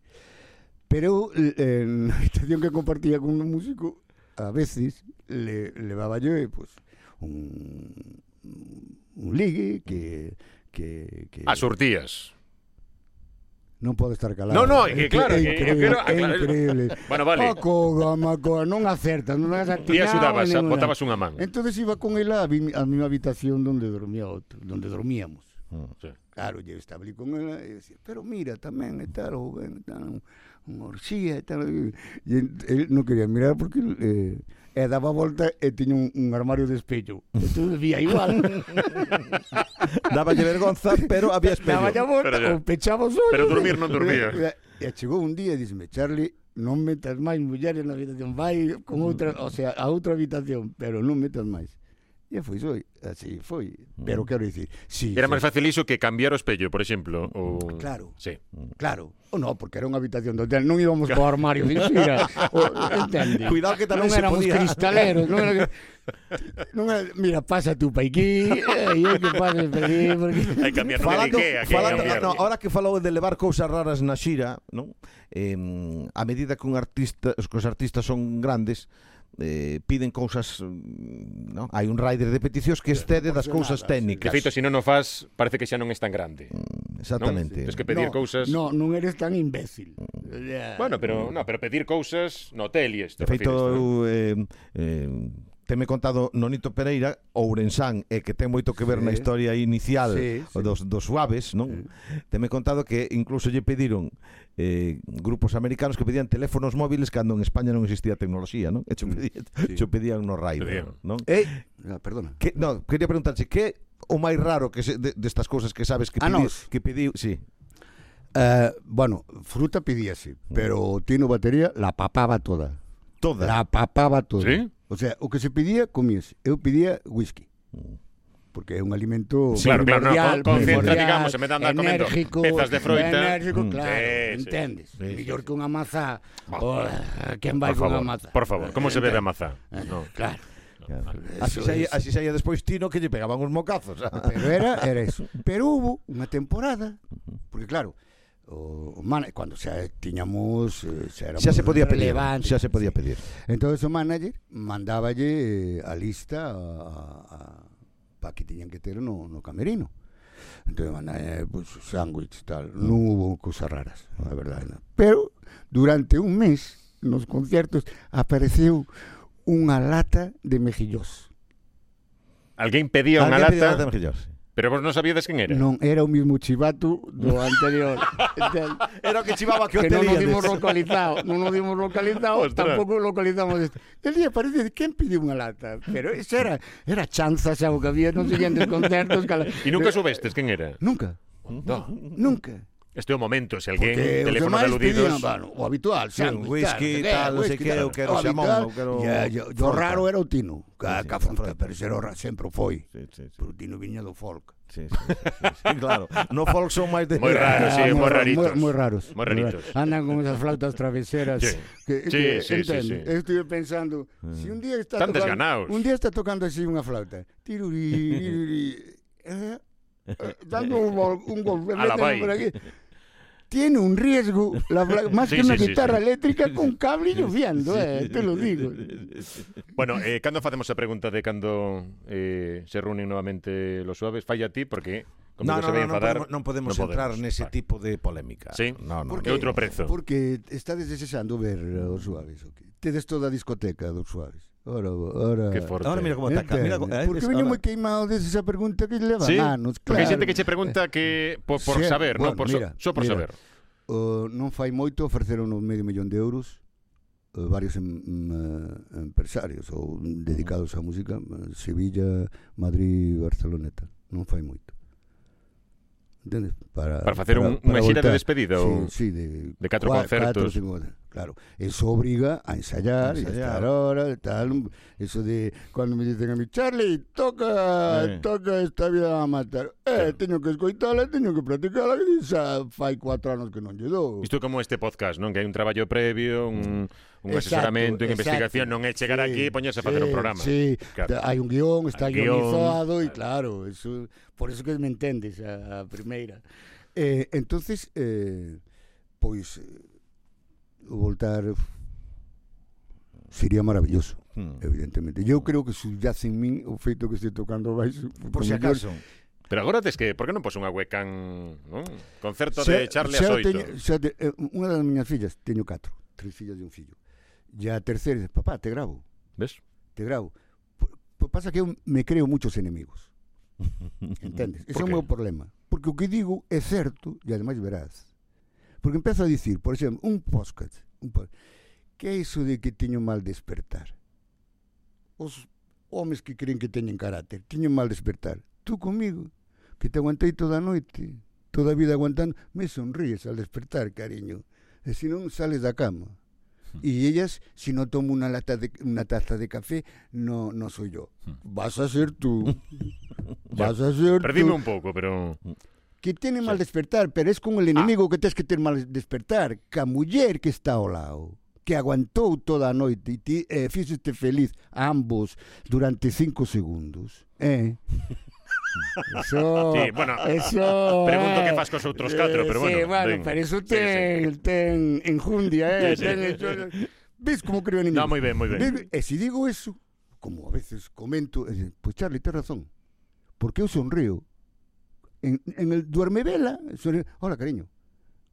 Speaker 3: Pero l- en a habitación que compartía con un músico, a veces le levaba yo eh, pues, un, un ligue que que, que
Speaker 1: A surtías.
Speaker 3: non pode estar calado.
Speaker 1: No, no, que
Speaker 3: É
Speaker 1: claro, que-
Speaker 3: incre- é
Speaker 1: que
Speaker 3: increíble,
Speaker 1: quero
Speaker 3: é
Speaker 1: aclarar-
Speaker 3: increíble.
Speaker 1: Bueno, vale.
Speaker 3: Paco, Gamaco, non acertas, non has atinado.
Speaker 1: Ti axudabas,
Speaker 3: ninguna.
Speaker 1: botabas unha man.
Speaker 3: Entonces iba con él a, mi- a mi habitación donde dormía otro, donde dormíamos.
Speaker 1: Sí.
Speaker 3: Claro, yo estaba allí con él y decía, pero mira, también está el joven, está un, un orgía, está... el-". Y él, él no quería mirar porque eh, eh, daba vuelta y tenía un, un armario de espejo. Entonces veía igual.
Speaker 2: Daballe vergonza, pero había
Speaker 3: daba ya
Speaker 1: Pero
Speaker 2: espello.
Speaker 3: vuelta,
Speaker 1: ya.
Speaker 3: o pechaba os
Speaker 1: Pero
Speaker 3: ollos.
Speaker 1: dormir non dormía.
Speaker 3: E chegou un día e díxeme, Charlie, non metas máis mulleres na habitación, vai
Speaker 1: Mm.
Speaker 3: con outra, o sea, a outra habitación, pero non metas máis. E foi soi, así foi. Pero quero dicir, sí,
Speaker 1: Mm. Era
Speaker 3: sí,
Speaker 1: máis fácil iso que cambiar o espello, por exemplo. O...
Speaker 3: Claro.
Speaker 1: Sí.
Speaker 3: Claro. O no, porque era unha habitación de hotel, non íbamos co armario de xira. O, entende?
Speaker 2: Cuidado que tamén
Speaker 3: non
Speaker 2: se
Speaker 3: éramos
Speaker 2: podía.
Speaker 3: cristaleros, non era que... Non era, mira, pasa tú pa aquí, e eu que pases pa aquí, porque...
Speaker 1: Hai que cambiar, non é
Speaker 2: Falando,
Speaker 1: Ikea, que hai
Speaker 2: falando,
Speaker 1: cambiar.
Speaker 2: no, ahora que falou de levar cousas raras na xira, non? Eh, a medida que un artista, os que os artistas son grandes, eh, piden cousas, mm, non? Hai un rider de peticións que excede das cousas
Speaker 1: De
Speaker 2: técnicas.
Speaker 1: feito, se non o fas, parece que xa non es tan grande.
Speaker 2: Exactamente.
Speaker 1: Non? Tens que pedir Mm.
Speaker 3: no,
Speaker 1: cousas...
Speaker 3: No, non eres tan imbécil. O sea,
Speaker 1: Bueno, pero, no, pero pedir cousas no hotel e isto.
Speaker 2: De feito,
Speaker 1: refires, non?
Speaker 2: eu eh, eh, teme contado Nonito Pereira, ourensán, e que ten moito que ver na
Speaker 3: Sí.
Speaker 2: historia inicial
Speaker 3: Sí, sí.
Speaker 2: dos dos suaves, non? Teme contado que incluso lle pediron eh, grupos americanos que pedían teléfonos móviles cando en España non existía tecnoloxía, non? E cho pedían,
Speaker 3: Mm, sí.
Speaker 2: cho pedían no
Speaker 1: Pedían.
Speaker 2: Raider, non?
Speaker 3: Ei, ah, perdona.
Speaker 2: Que, no, quería preguntarche que o máis raro que se, de, destas cousas que sabes que
Speaker 3: A
Speaker 2: pedi-
Speaker 3: nós.
Speaker 2: que pediu, sí.
Speaker 3: Eh, bueno, fruta pedíase, pero Tino Batería la papaba toda.
Speaker 2: Toda.
Speaker 3: La papaba toda.
Speaker 1: Sí?
Speaker 3: O sea, o que se pedía, comíase. Eu pedía whisky. Porque é un alimento
Speaker 1: Sí, claro, claro, no,
Speaker 3: primordial,
Speaker 1: con- con cierta,
Speaker 3: primordial,
Speaker 1: digamos, se me dan a comer
Speaker 3: enérgico,
Speaker 1: pezas de froita.
Speaker 3: Enérgico,
Speaker 1: Mm.
Speaker 3: claro,
Speaker 1: Sí, sí.
Speaker 3: entendes?
Speaker 1: Sí, sí,
Speaker 3: Mellor que unha maza. Oh, quen vai
Speaker 1: Por
Speaker 3: con a
Speaker 1: favor,
Speaker 3: maza?
Speaker 1: por favor, como se bebe a mazá?
Speaker 3: Eh,
Speaker 1: No.
Speaker 3: Claro.
Speaker 2: Así
Speaker 3: Eso
Speaker 2: saía,
Speaker 3: es.
Speaker 2: así saía despois Tino que lle pegaban uns mocazos.
Speaker 3: Pero era, era eso. Pero hubo unha temporada, porque claro, o, o mana- cuando xa tiñamos eh, xa, éramos
Speaker 2: Xa se podía pedir,
Speaker 3: relevantes,
Speaker 2: xa se podía pedir.
Speaker 3: Entonces o manager mandáballe eh, a lista a, para que tiñan que ter no, no camerino. Entonces mandalle pues, sándwich tal, non hubo cousas raras, a verdade. non. Pero durante un mes nos concertos apareceu unha lata de mejillós.
Speaker 1: Alguén pedía unha
Speaker 2: Alguén pedía
Speaker 1: lata,
Speaker 2: de mejillón, sí.
Speaker 1: pero vos non sabíades quen era.
Speaker 3: Non era o mismo chivato do anterior. Entende?
Speaker 2: Era o que chivaba que o
Speaker 3: que non nos
Speaker 2: telíades.
Speaker 3: dimos localizado, non nos dimos localizado,
Speaker 1: Ostras.
Speaker 3: tampouco localizamos isto. El día parece que quen pediu unha lata, pero eso era era chanza xa o que había nos seguintes concertos, cala...
Speaker 1: E nunca subestes quen era.
Speaker 3: nunca,
Speaker 1: No.
Speaker 3: nunca.
Speaker 1: Este é o momento, se alguén,
Speaker 3: Porque os
Speaker 1: teléfono de
Speaker 3: demais
Speaker 1: aludidos.
Speaker 3: pedían, bueno, o habitual,
Speaker 2: Sí, un
Speaker 3: sándwich,
Speaker 2: whisky, tal, non sei
Speaker 3: whisky,
Speaker 2: que,
Speaker 3: tal.
Speaker 2: eu quero
Speaker 3: O
Speaker 2: xamón,
Speaker 3: habitual,
Speaker 2: eu quero
Speaker 3: ya, ya, o
Speaker 2: froita.
Speaker 3: raro era o tino,
Speaker 2: Sí,
Speaker 3: ca,
Speaker 2: sí,
Speaker 3: ca
Speaker 2: a
Speaker 3: fronta,
Speaker 2: froita.
Speaker 3: pero era o ra- sempre o foi.
Speaker 2: Sí, sí, sí.
Speaker 3: Pero o tino viña do folk.
Speaker 2: Sí, sí, sí, sí, sí, claro. No folk son máis de...
Speaker 1: Moi raro, sí,
Speaker 3: Ah,
Speaker 1: moi raritos.
Speaker 3: Moi, moi raros.
Speaker 1: Moi raritos.
Speaker 3: Andan con esas flautas traveseras.
Speaker 1: Sí. Sí,
Speaker 3: Que,
Speaker 1: sí,
Speaker 3: que,
Speaker 1: sí, sí.
Speaker 3: entende,
Speaker 1: Mm.
Speaker 3: Estuve pensando, si un día está
Speaker 1: Están
Speaker 3: tocando,
Speaker 1: desganados.
Speaker 3: Un día está tocando así una flauta. Tirurí, tirurí, eh, eh, dando un, gol- un golpe
Speaker 1: A la
Speaker 3: mételo
Speaker 1: vai.
Speaker 3: por aquí. Tiene un riesgo, la fla- más
Speaker 1: Sí,
Speaker 3: que una
Speaker 1: sí, sí,
Speaker 3: guitarra
Speaker 1: sí.
Speaker 3: eléctrica con cable lloviendo, eh, te lo digo.
Speaker 1: Bueno, eh, cando facemos a pregunta de cando eh, se reúnen novamente los suaves? Falla a ti, porque como
Speaker 2: No,
Speaker 1: se
Speaker 2: no,
Speaker 1: vai
Speaker 2: no, non
Speaker 1: enfadar...
Speaker 2: podemos, non podemos
Speaker 1: non
Speaker 2: entrar nese
Speaker 1: Vale.
Speaker 2: tipo de polémica.
Speaker 1: Sí?
Speaker 2: No, no,
Speaker 1: Por
Speaker 2: no.
Speaker 1: que outro prezo?
Speaker 3: Porque está desexando ver os suaves. Okay. Tedes toda a discoteca dos suaves. Ora, ora.
Speaker 1: Que forte.
Speaker 2: Ahora Ah, mira como ataca. Mira, co- eh,
Speaker 3: Porque
Speaker 2: es-
Speaker 3: veño
Speaker 2: ahora-
Speaker 3: moi queimado desde esa pregunta que levan
Speaker 1: Sí,
Speaker 3: anos, claro.
Speaker 1: porque hai xente que se pregunta que por, por
Speaker 3: Sí,
Speaker 1: saber, non
Speaker 3: bueno,
Speaker 1: por so,
Speaker 3: mira,
Speaker 1: só por
Speaker 3: mira.
Speaker 1: saber.
Speaker 3: Uh, non fai moito ofreceron un medio millón de euros uh, varios em, em, eh, empresarios ou dedicados á música eh, Sevilla, Madrid, Barcelona e tal. Non fai moito. Entendes?
Speaker 2: Ah,
Speaker 3: Para,
Speaker 1: Para facer un- unha xira de
Speaker 3: voltar.
Speaker 1: despedida
Speaker 3: sí,
Speaker 1: ou-
Speaker 3: sí, de,
Speaker 1: de catro
Speaker 3: cua-
Speaker 1: concertos.
Speaker 3: catro, cinco, claro, eso obriga a
Speaker 2: A
Speaker 3: ensayar, e a
Speaker 2: ensayar.
Speaker 3: estar hora, e tal, eso de cando me dicen a mi Charlie, toca,
Speaker 2: Eh.
Speaker 3: toca esta vida a matar. Eh, teño que escoitala, teño que practicala, que xa fai cuatro anos que non lle dou.
Speaker 1: Isto é como este podcast, non? Que hai un traballo previo, un, un
Speaker 3: Exacto,
Speaker 1: asesoramento, unha
Speaker 3: exacto.
Speaker 1: investigación, non é chegar
Speaker 3: Sí,
Speaker 1: aquí e poñerse a facer
Speaker 3: sí,
Speaker 1: un programa.
Speaker 3: Sí,
Speaker 1: Claro.
Speaker 3: hai un guión, está
Speaker 1: Hai guión.
Speaker 3: guionizado e claro, eso, por eso que me entendes a, a primeira. Eh, entonces, eh, pois eh, o voltar sería maravilloso,
Speaker 2: Hmm.
Speaker 3: evidentemente. Eu creo que subyace en min o feito que estou tocando o baixo.
Speaker 2: Por si
Speaker 3: porque mellor-
Speaker 2: acaso.
Speaker 1: Pero agora tes que, por que non pos unha webcam, non? Concerto de
Speaker 3: Xa-
Speaker 1: Charlie
Speaker 3: xa
Speaker 1: as oito.
Speaker 3: teño- xa te- eh, Unha das miñas fillas, teño catro, tres fillas e un fillo. E a terceira, dice, papá, te gravo.
Speaker 1: Ves?
Speaker 3: te grabo. P- p- Pasa que eu me creo muchos enemigos. Entendes? Ese é
Speaker 1: Por
Speaker 3: o
Speaker 1: que?
Speaker 3: meu problema. Porque o que digo é certo e ademais verás. Porque empezo a dicir, por exemplo, un podcast, un po- que é iso de que teño mal despertar? Os homes que creen que teñen carácter, teñen mal despertar. Tú comigo, que te aguantei toda a noite, toda a vida aguantando, me sonríes al despertar, cariño. E se non sales da cama.
Speaker 1: Hmm.
Speaker 3: Y ellas, si no tomo una, lata de, una taza de café, no, no soy yo.
Speaker 1: Hmm.
Speaker 3: Vas a ser tú. Vas a ser
Speaker 1: Perdime
Speaker 3: tú.
Speaker 1: un pouco, pero...
Speaker 3: Que tiene mal despertar, pero es
Speaker 1: Ah.
Speaker 3: con el enemigo que tienes que tener mal despertar. Que a muller que está ao lado, que aguantou toda a noite e ti eh, fíxeste feliz a ambos durante cinco segundos. Eh. Eso,
Speaker 1: Sí, bueno,
Speaker 3: eso,
Speaker 1: pregunto
Speaker 3: Oh, ah, eh.
Speaker 1: que fas cos outros catro, pero bueno,
Speaker 3: Sí, bueno,
Speaker 1: venga.
Speaker 3: pero eso
Speaker 1: Sí, sí.
Speaker 3: ten, ten enjundia, eh.
Speaker 1: Sí, sí.
Speaker 3: ten eso- ¿Ves cómo creo en
Speaker 1: No, moi ben, moi ben.
Speaker 3: E se digo eso, como a veces comento, eh, pues Charlie, tens razón. Porque eu sonrío. En, en el duerme vela, sonrío, hola cariño.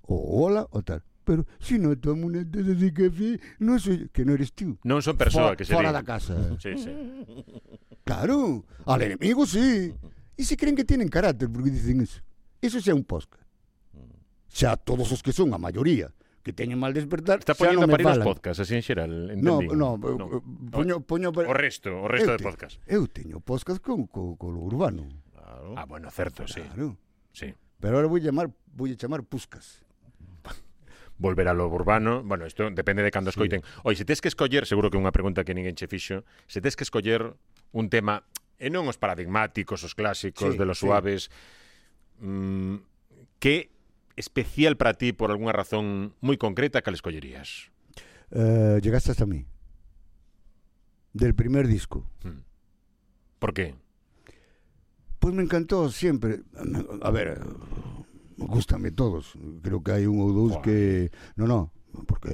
Speaker 3: O hola o tal. Pero pero si non tomo unha taza de café, non soy, que non eres tú.
Speaker 1: Non son persoa que
Speaker 3: Fo-
Speaker 1: se
Speaker 3: fora
Speaker 1: di.
Speaker 3: da Mm. casa.
Speaker 1: Sí, sí.
Speaker 3: Claro, al enemigo sí. E se creen que tienen carácter porque dicen eso. Eso xa é un posca.
Speaker 1: Mm.
Speaker 3: Xa todos os que son, a maioría, que teñen mal despertar,
Speaker 1: Está
Speaker 3: xa
Speaker 1: poñendo a
Speaker 3: non me
Speaker 1: parir os
Speaker 3: falan.
Speaker 1: podcasts, así en xeral,
Speaker 3: No,
Speaker 1: entendín.
Speaker 3: no, eh, poño, poño,
Speaker 1: O resto, o resto de podcast.
Speaker 3: Eu teño podcast con, con, con lo urbano.
Speaker 1: Ah, bueno, certo, sí.
Speaker 3: Claro.
Speaker 1: sí.
Speaker 3: Pero ahora voy a llamar, voy a chamar Puscas.
Speaker 1: volver a lo urbano, bueno, isto depende de cando escoiten. Oi, se tes que escoller, seguro que é unha pregunta que ninguén che fixo, se tes que escoller un tema e non os paradigmáticos, os clásicos,
Speaker 3: Sí,
Speaker 1: de los
Speaker 3: sí.
Speaker 1: suaves, mm, que especial para ti por algunha razón moi concreta que le escollerías?
Speaker 3: Eh, llegaste hasta mí. Del primer disco.
Speaker 1: Por qué?
Speaker 3: Pues me encantó siempre. A ver, gustame todos. Creo que hay un o dos
Speaker 1: Buah.
Speaker 3: que... No, no, porque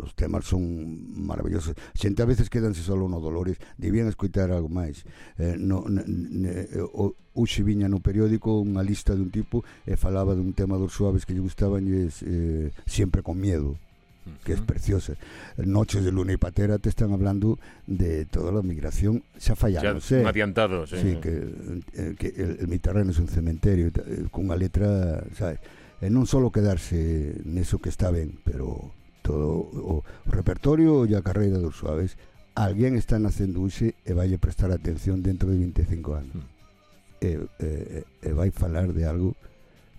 Speaker 3: los temas son maravillosos. Xente a veces quedanse solo no dolores. Debían escoitar algo máis. Eh, no, ne, ne, o, uxe viña no periódico unha lista dun tipo e falaba dun tema dos suaves que lle gustaban e es, eh, sempre con miedo. que es preciosa. Noches de Luna y Patera te están hablando de toda la migración. Se ha
Speaker 1: Ya,
Speaker 3: fallado, sé.
Speaker 1: un adiantado, sí.
Speaker 3: Sí, que, eh, que el, el mi terreno es un cementerio, e ta- eh, con unha letra, sabes, e non solo quedarse neso que está ben, pero todo o, o repertorio e a carreira dos suaves, alguén está nacendo hoxe e vai prestar atención dentro de Eh, 25 anos.
Speaker 1: Mm.
Speaker 3: E, e, e- e vai falar de algo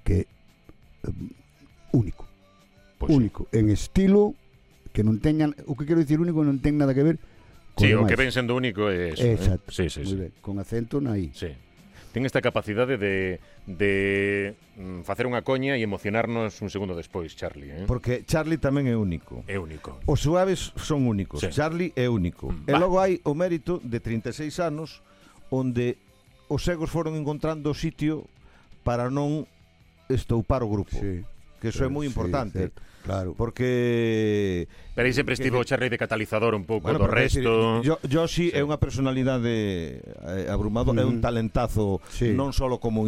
Speaker 3: que é único,
Speaker 1: Pois sí.
Speaker 3: único, en estilo que non teñan, o que quero dicir único non ten nada que ver con
Speaker 1: Sí, o
Speaker 3: demais.
Speaker 1: que ven sendo único é eso.
Speaker 3: Exacto.
Speaker 1: Eh? Sí, sí,
Speaker 3: Moi
Speaker 1: sí.
Speaker 3: ben, con acento na I.
Speaker 1: Sí. Ten esta capacidade de, de mm, facer unha coña e emocionarnos un segundo despois, Charlie. Eh?
Speaker 2: Porque Charlie tamén é único.
Speaker 1: É único.
Speaker 2: Os suaves son únicos,
Speaker 1: Sí.
Speaker 2: sí. Charlie é único.
Speaker 1: Mm,
Speaker 2: E
Speaker 1: va.
Speaker 2: logo hai o mérito de 36 anos onde os cegos foron encontrando o sitio para non estoupar o grupo, sí. que iso é moi
Speaker 3: Sí,
Speaker 2: importante.
Speaker 3: certo, claro.
Speaker 2: Porque
Speaker 1: Pero aí sempre estivo o Charlie de catalizador un pouco bueno, do
Speaker 2: pero quero dicir,
Speaker 1: resto.
Speaker 2: yo, Yoshi sí. é unha personalidade eh, abrumado, é un
Speaker 3: Ujú.
Speaker 2: talentazo
Speaker 3: Sí.
Speaker 2: non solo como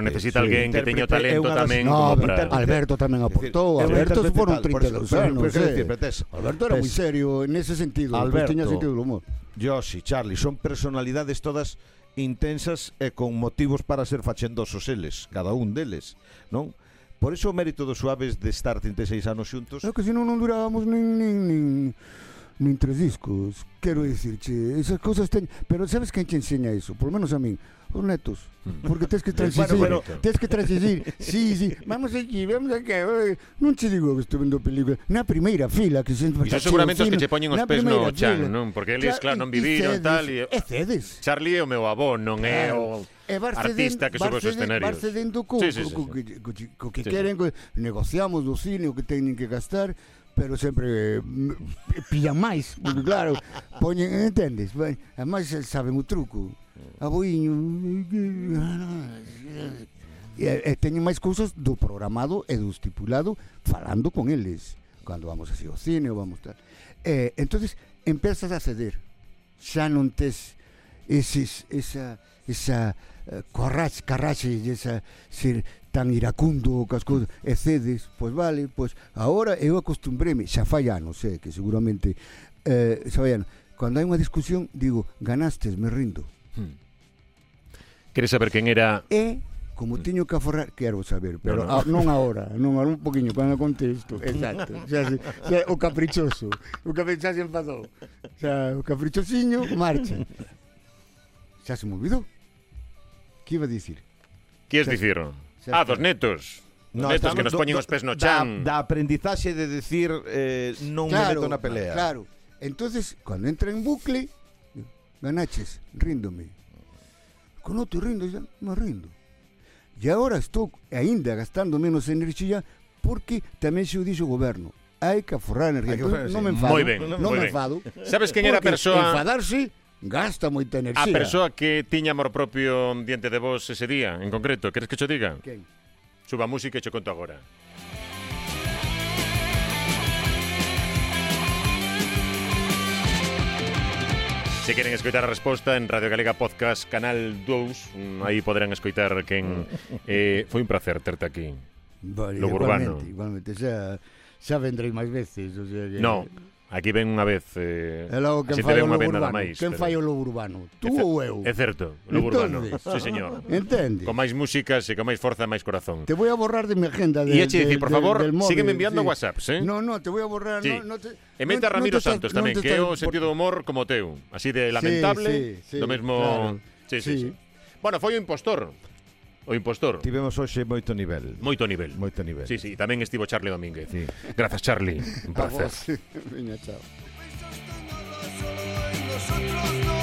Speaker 1: Mm. Pero necesita alguén que teña o
Speaker 2: Intérprete é
Speaker 1: talento
Speaker 2: unha das-
Speaker 1: tamén
Speaker 3: No,
Speaker 1: como
Speaker 3: pero
Speaker 1: para...
Speaker 2: intérprete-
Speaker 3: Alberto tamén aportou.
Speaker 2: É decir, é un
Speaker 3: Alberto
Speaker 2: intérprete
Speaker 3: foron
Speaker 2: tal, por eso,
Speaker 3: 32
Speaker 2: pero-
Speaker 3: anos.
Speaker 2: pero quero
Speaker 3: eh.
Speaker 2: dicir, pero tes-
Speaker 3: Alberto era
Speaker 2: tes-
Speaker 3: moi serio nese sentido. Pues,
Speaker 2: Alberto.
Speaker 3: Alberto tiña sentido do humor.
Speaker 2: Yoshi, Charlie, son personalidades todas intensas e con motivos para ser fachendosos eles, cada un deles, non? Por iso o mérito dos suaves de estar 36 anos xuntos.
Speaker 3: É que senón non durábamos nin, nin, nin, nin tres discos. Quero dicirche, esas cosas ten... Pero sabes quen te enseña iso? Por lo menos a min. Os netos. Porque tens que
Speaker 1: Bueno,
Speaker 3: transigir.
Speaker 1: pero-
Speaker 3: Tens que transigir. Sí, sí. Vamos aquí, vamos aquí. Ai, Non che digo que estou vendo película. Na primeira fila que sempre...
Speaker 1: Iso
Speaker 3: está
Speaker 1: seguramente os
Speaker 3: cheo,
Speaker 1: que
Speaker 3: fino,
Speaker 1: che poñen os
Speaker 3: na
Speaker 1: pés no
Speaker 3: primeira
Speaker 1: chan,
Speaker 3: fila.
Speaker 1: non? Porque eles, claro, non
Speaker 3: e- e
Speaker 1: viviron
Speaker 3: cedes,
Speaker 1: tal e...
Speaker 3: E cedes.
Speaker 1: Charlie é o meu avó, non é
Speaker 3: Claro.
Speaker 1: o
Speaker 3: E vas
Speaker 1: artista
Speaker 3: ceden-
Speaker 1: que
Speaker 3: vas
Speaker 1: sube os
Speaker 3: ceden-
Speaker 1: escenarios.
Speaker 3: Vas cedendo co,
Speaker 1: Sí, sí, sí,
Speaker 3: co- co
Speaker 1: sí.
Speaker 3: que, co, chi- co que
Speaker 1: Sí, sí.
Speaker 3: queren, co- negociamos do cine o que teñen que gastar, pero sempre eh, m- pillan máis, porque claro, poñen, entendes? Ben, Ademais eles saben o truco. A boiño... E, e teñen máis cousas do programado e do estipulado falando con eles. Cando vamos así ao cine ou vamos tal. Eh, entonces empezas a ceder. Xa non tes eses, esa, esa eh, corraxe, carraxe, e esa ser tan iracundo cas cousas, e cedes, pois vale, pois agora eu acostumbreme, xa fai anos, eh, que seguramente eh, xa fai anos, cando hai unha discusión, digo, ganastes, me rindo.
Speaker 1: Queres saber quen era...
Speaker 3: E como teño que aforrar, quero saber, pero
Speaker 1: Mm. No, no.
Speaker 3: no, no. A, non agora, non agora, un poquinho, cando contesto. Exacto. Xa, se- xa, o caprichoso. O caprichoso xa se enfadou. Xa, o caprichosiño marcha. Xa se me olvidou. Que iba a dicir?
Speaker 1: Que es dicir?
Speaker 3: xa
Speaker 1: Ah, dos
Speaker 3: está.
Speaker 1: netos. Dos netos que nos poñen os pés no chan.
Speaker 2: Da, da aprendizaxe de decir eh, non me meto na pelea.
Speaker 3: ah, Claro. Entonces, cuando entra en bucle, ganaches, ríndome. Con otro rindo, ya me rindo. Y ahora estou ainda gastando menos enerxía porque tamén se o dixo o goberno. Hai que aforrar
Speaker 2: Hai
Speaker 3: enerxía.
Speaker 2: que aforrar,
Speaker 3: Entón, non
Speaker 2: sí.
Speaker 3: me enfado.
Speaker 1: Moi ben,
Speaker 3: non
Speaker 1: moi
Speaker 3: me
Speaker 1: ben.
Speaker 3: enfado.
Speaker 1: Sabes quen era Ah, a
Speaker 3: porque
Speaker 1: persoa-
Speaker 3: Enfadarse gasta moita enerxía.
Speaker 1: A persoa que tiña amor propio diante de vos ese día, en concreto, queres que cho diga?
Speaker 3: Quen?
Speaker 1: Suba a música e cho conto agora. Se queren escoitar a resposta en Radio Galega Podcast Canal 2, mm, aí poderán escoitar quen eh, foi un placer terte aquí.
Speaker 3: Vale,
Speaker 1: Lo
Speaker 3: igualmente,
Speaker 1: urbano.
Speaker 3: Igualmente, xa, xa vendrei máis veces, o sea que
Speaker 1: No, aquí ven unha vez. Eh,
Speaker 3: É logo
Speaker 1: así te
Speaker 3: quen fai
Speaker 1: ven
Speaker 3: o
Speaker 1: unha
Speaker 3: lobo
Speaker 1: vez nada
Speaker 3: urbano.
Speaker 1: máis.
Speaker 3: Quen
Speaker 1: pero-
Speaker 3: fai o lobo urbano? Tú
Speaker 1: É cer-
Speaker 3: ou eu?
Speaker 1: É certo, lobo urbano.
Speaker 3: Entonces.
Speaker 1: Sí, señor.
Speaker 3: Entende?
Speaker 1: Con máis músicas e con máis forza, máis corazón.
Speaker 3: Te voy a borrar de mi agenda. De,
Speaker 1: Y eche
Speaker 3: de-
Speaker 1: decir, por
Speaker 3: de-
Speaker 1: favor,
Speaker 3: del móvil,
Speaker 1: sígueme enviando WhatsApps, ¿eh?
Speaker 3: No, no, te voy a borrar.
Speaker 1: Sí.
Speaker 3: No, no te,
Speaker 1: E mete
Speaker 3: no-
Speaker 1: a Ramiro
Speaker 3: no te estás-
Speaker 1: Santos
Speaker 3: no
Speaker 1: tamén,
Speaker 3: te
Speaker 1: que é o
Speaker 3: estás-
Speaker 1: sentido do humor como teu. Así de lamentable,
Speaker 3: sí, sí,
Speaker 1: do mesmo...
Speaker 3: claro.
Speaker 1: Sí, sí, sí.
Speaker 3: Sí.
Speaker 1: Bueno, foi o impostor. O impostor.
Speaker 2: Tivemos hoxe moito nivel.
Speaker 1: Moito nivel.
Speaker 2: Moito nivel.
Speaker 1: Sí, sí, tamén estivo Charlie Domínguez.
Speaker 2: Sí.
Speaker 1: Grazas, Charlie. Un
Speaker 3: A
Speaker 1: placer.
Speaker 3: vos. Veña, chao.
Speaker 8: Pensas todo lo solo en nosotros no.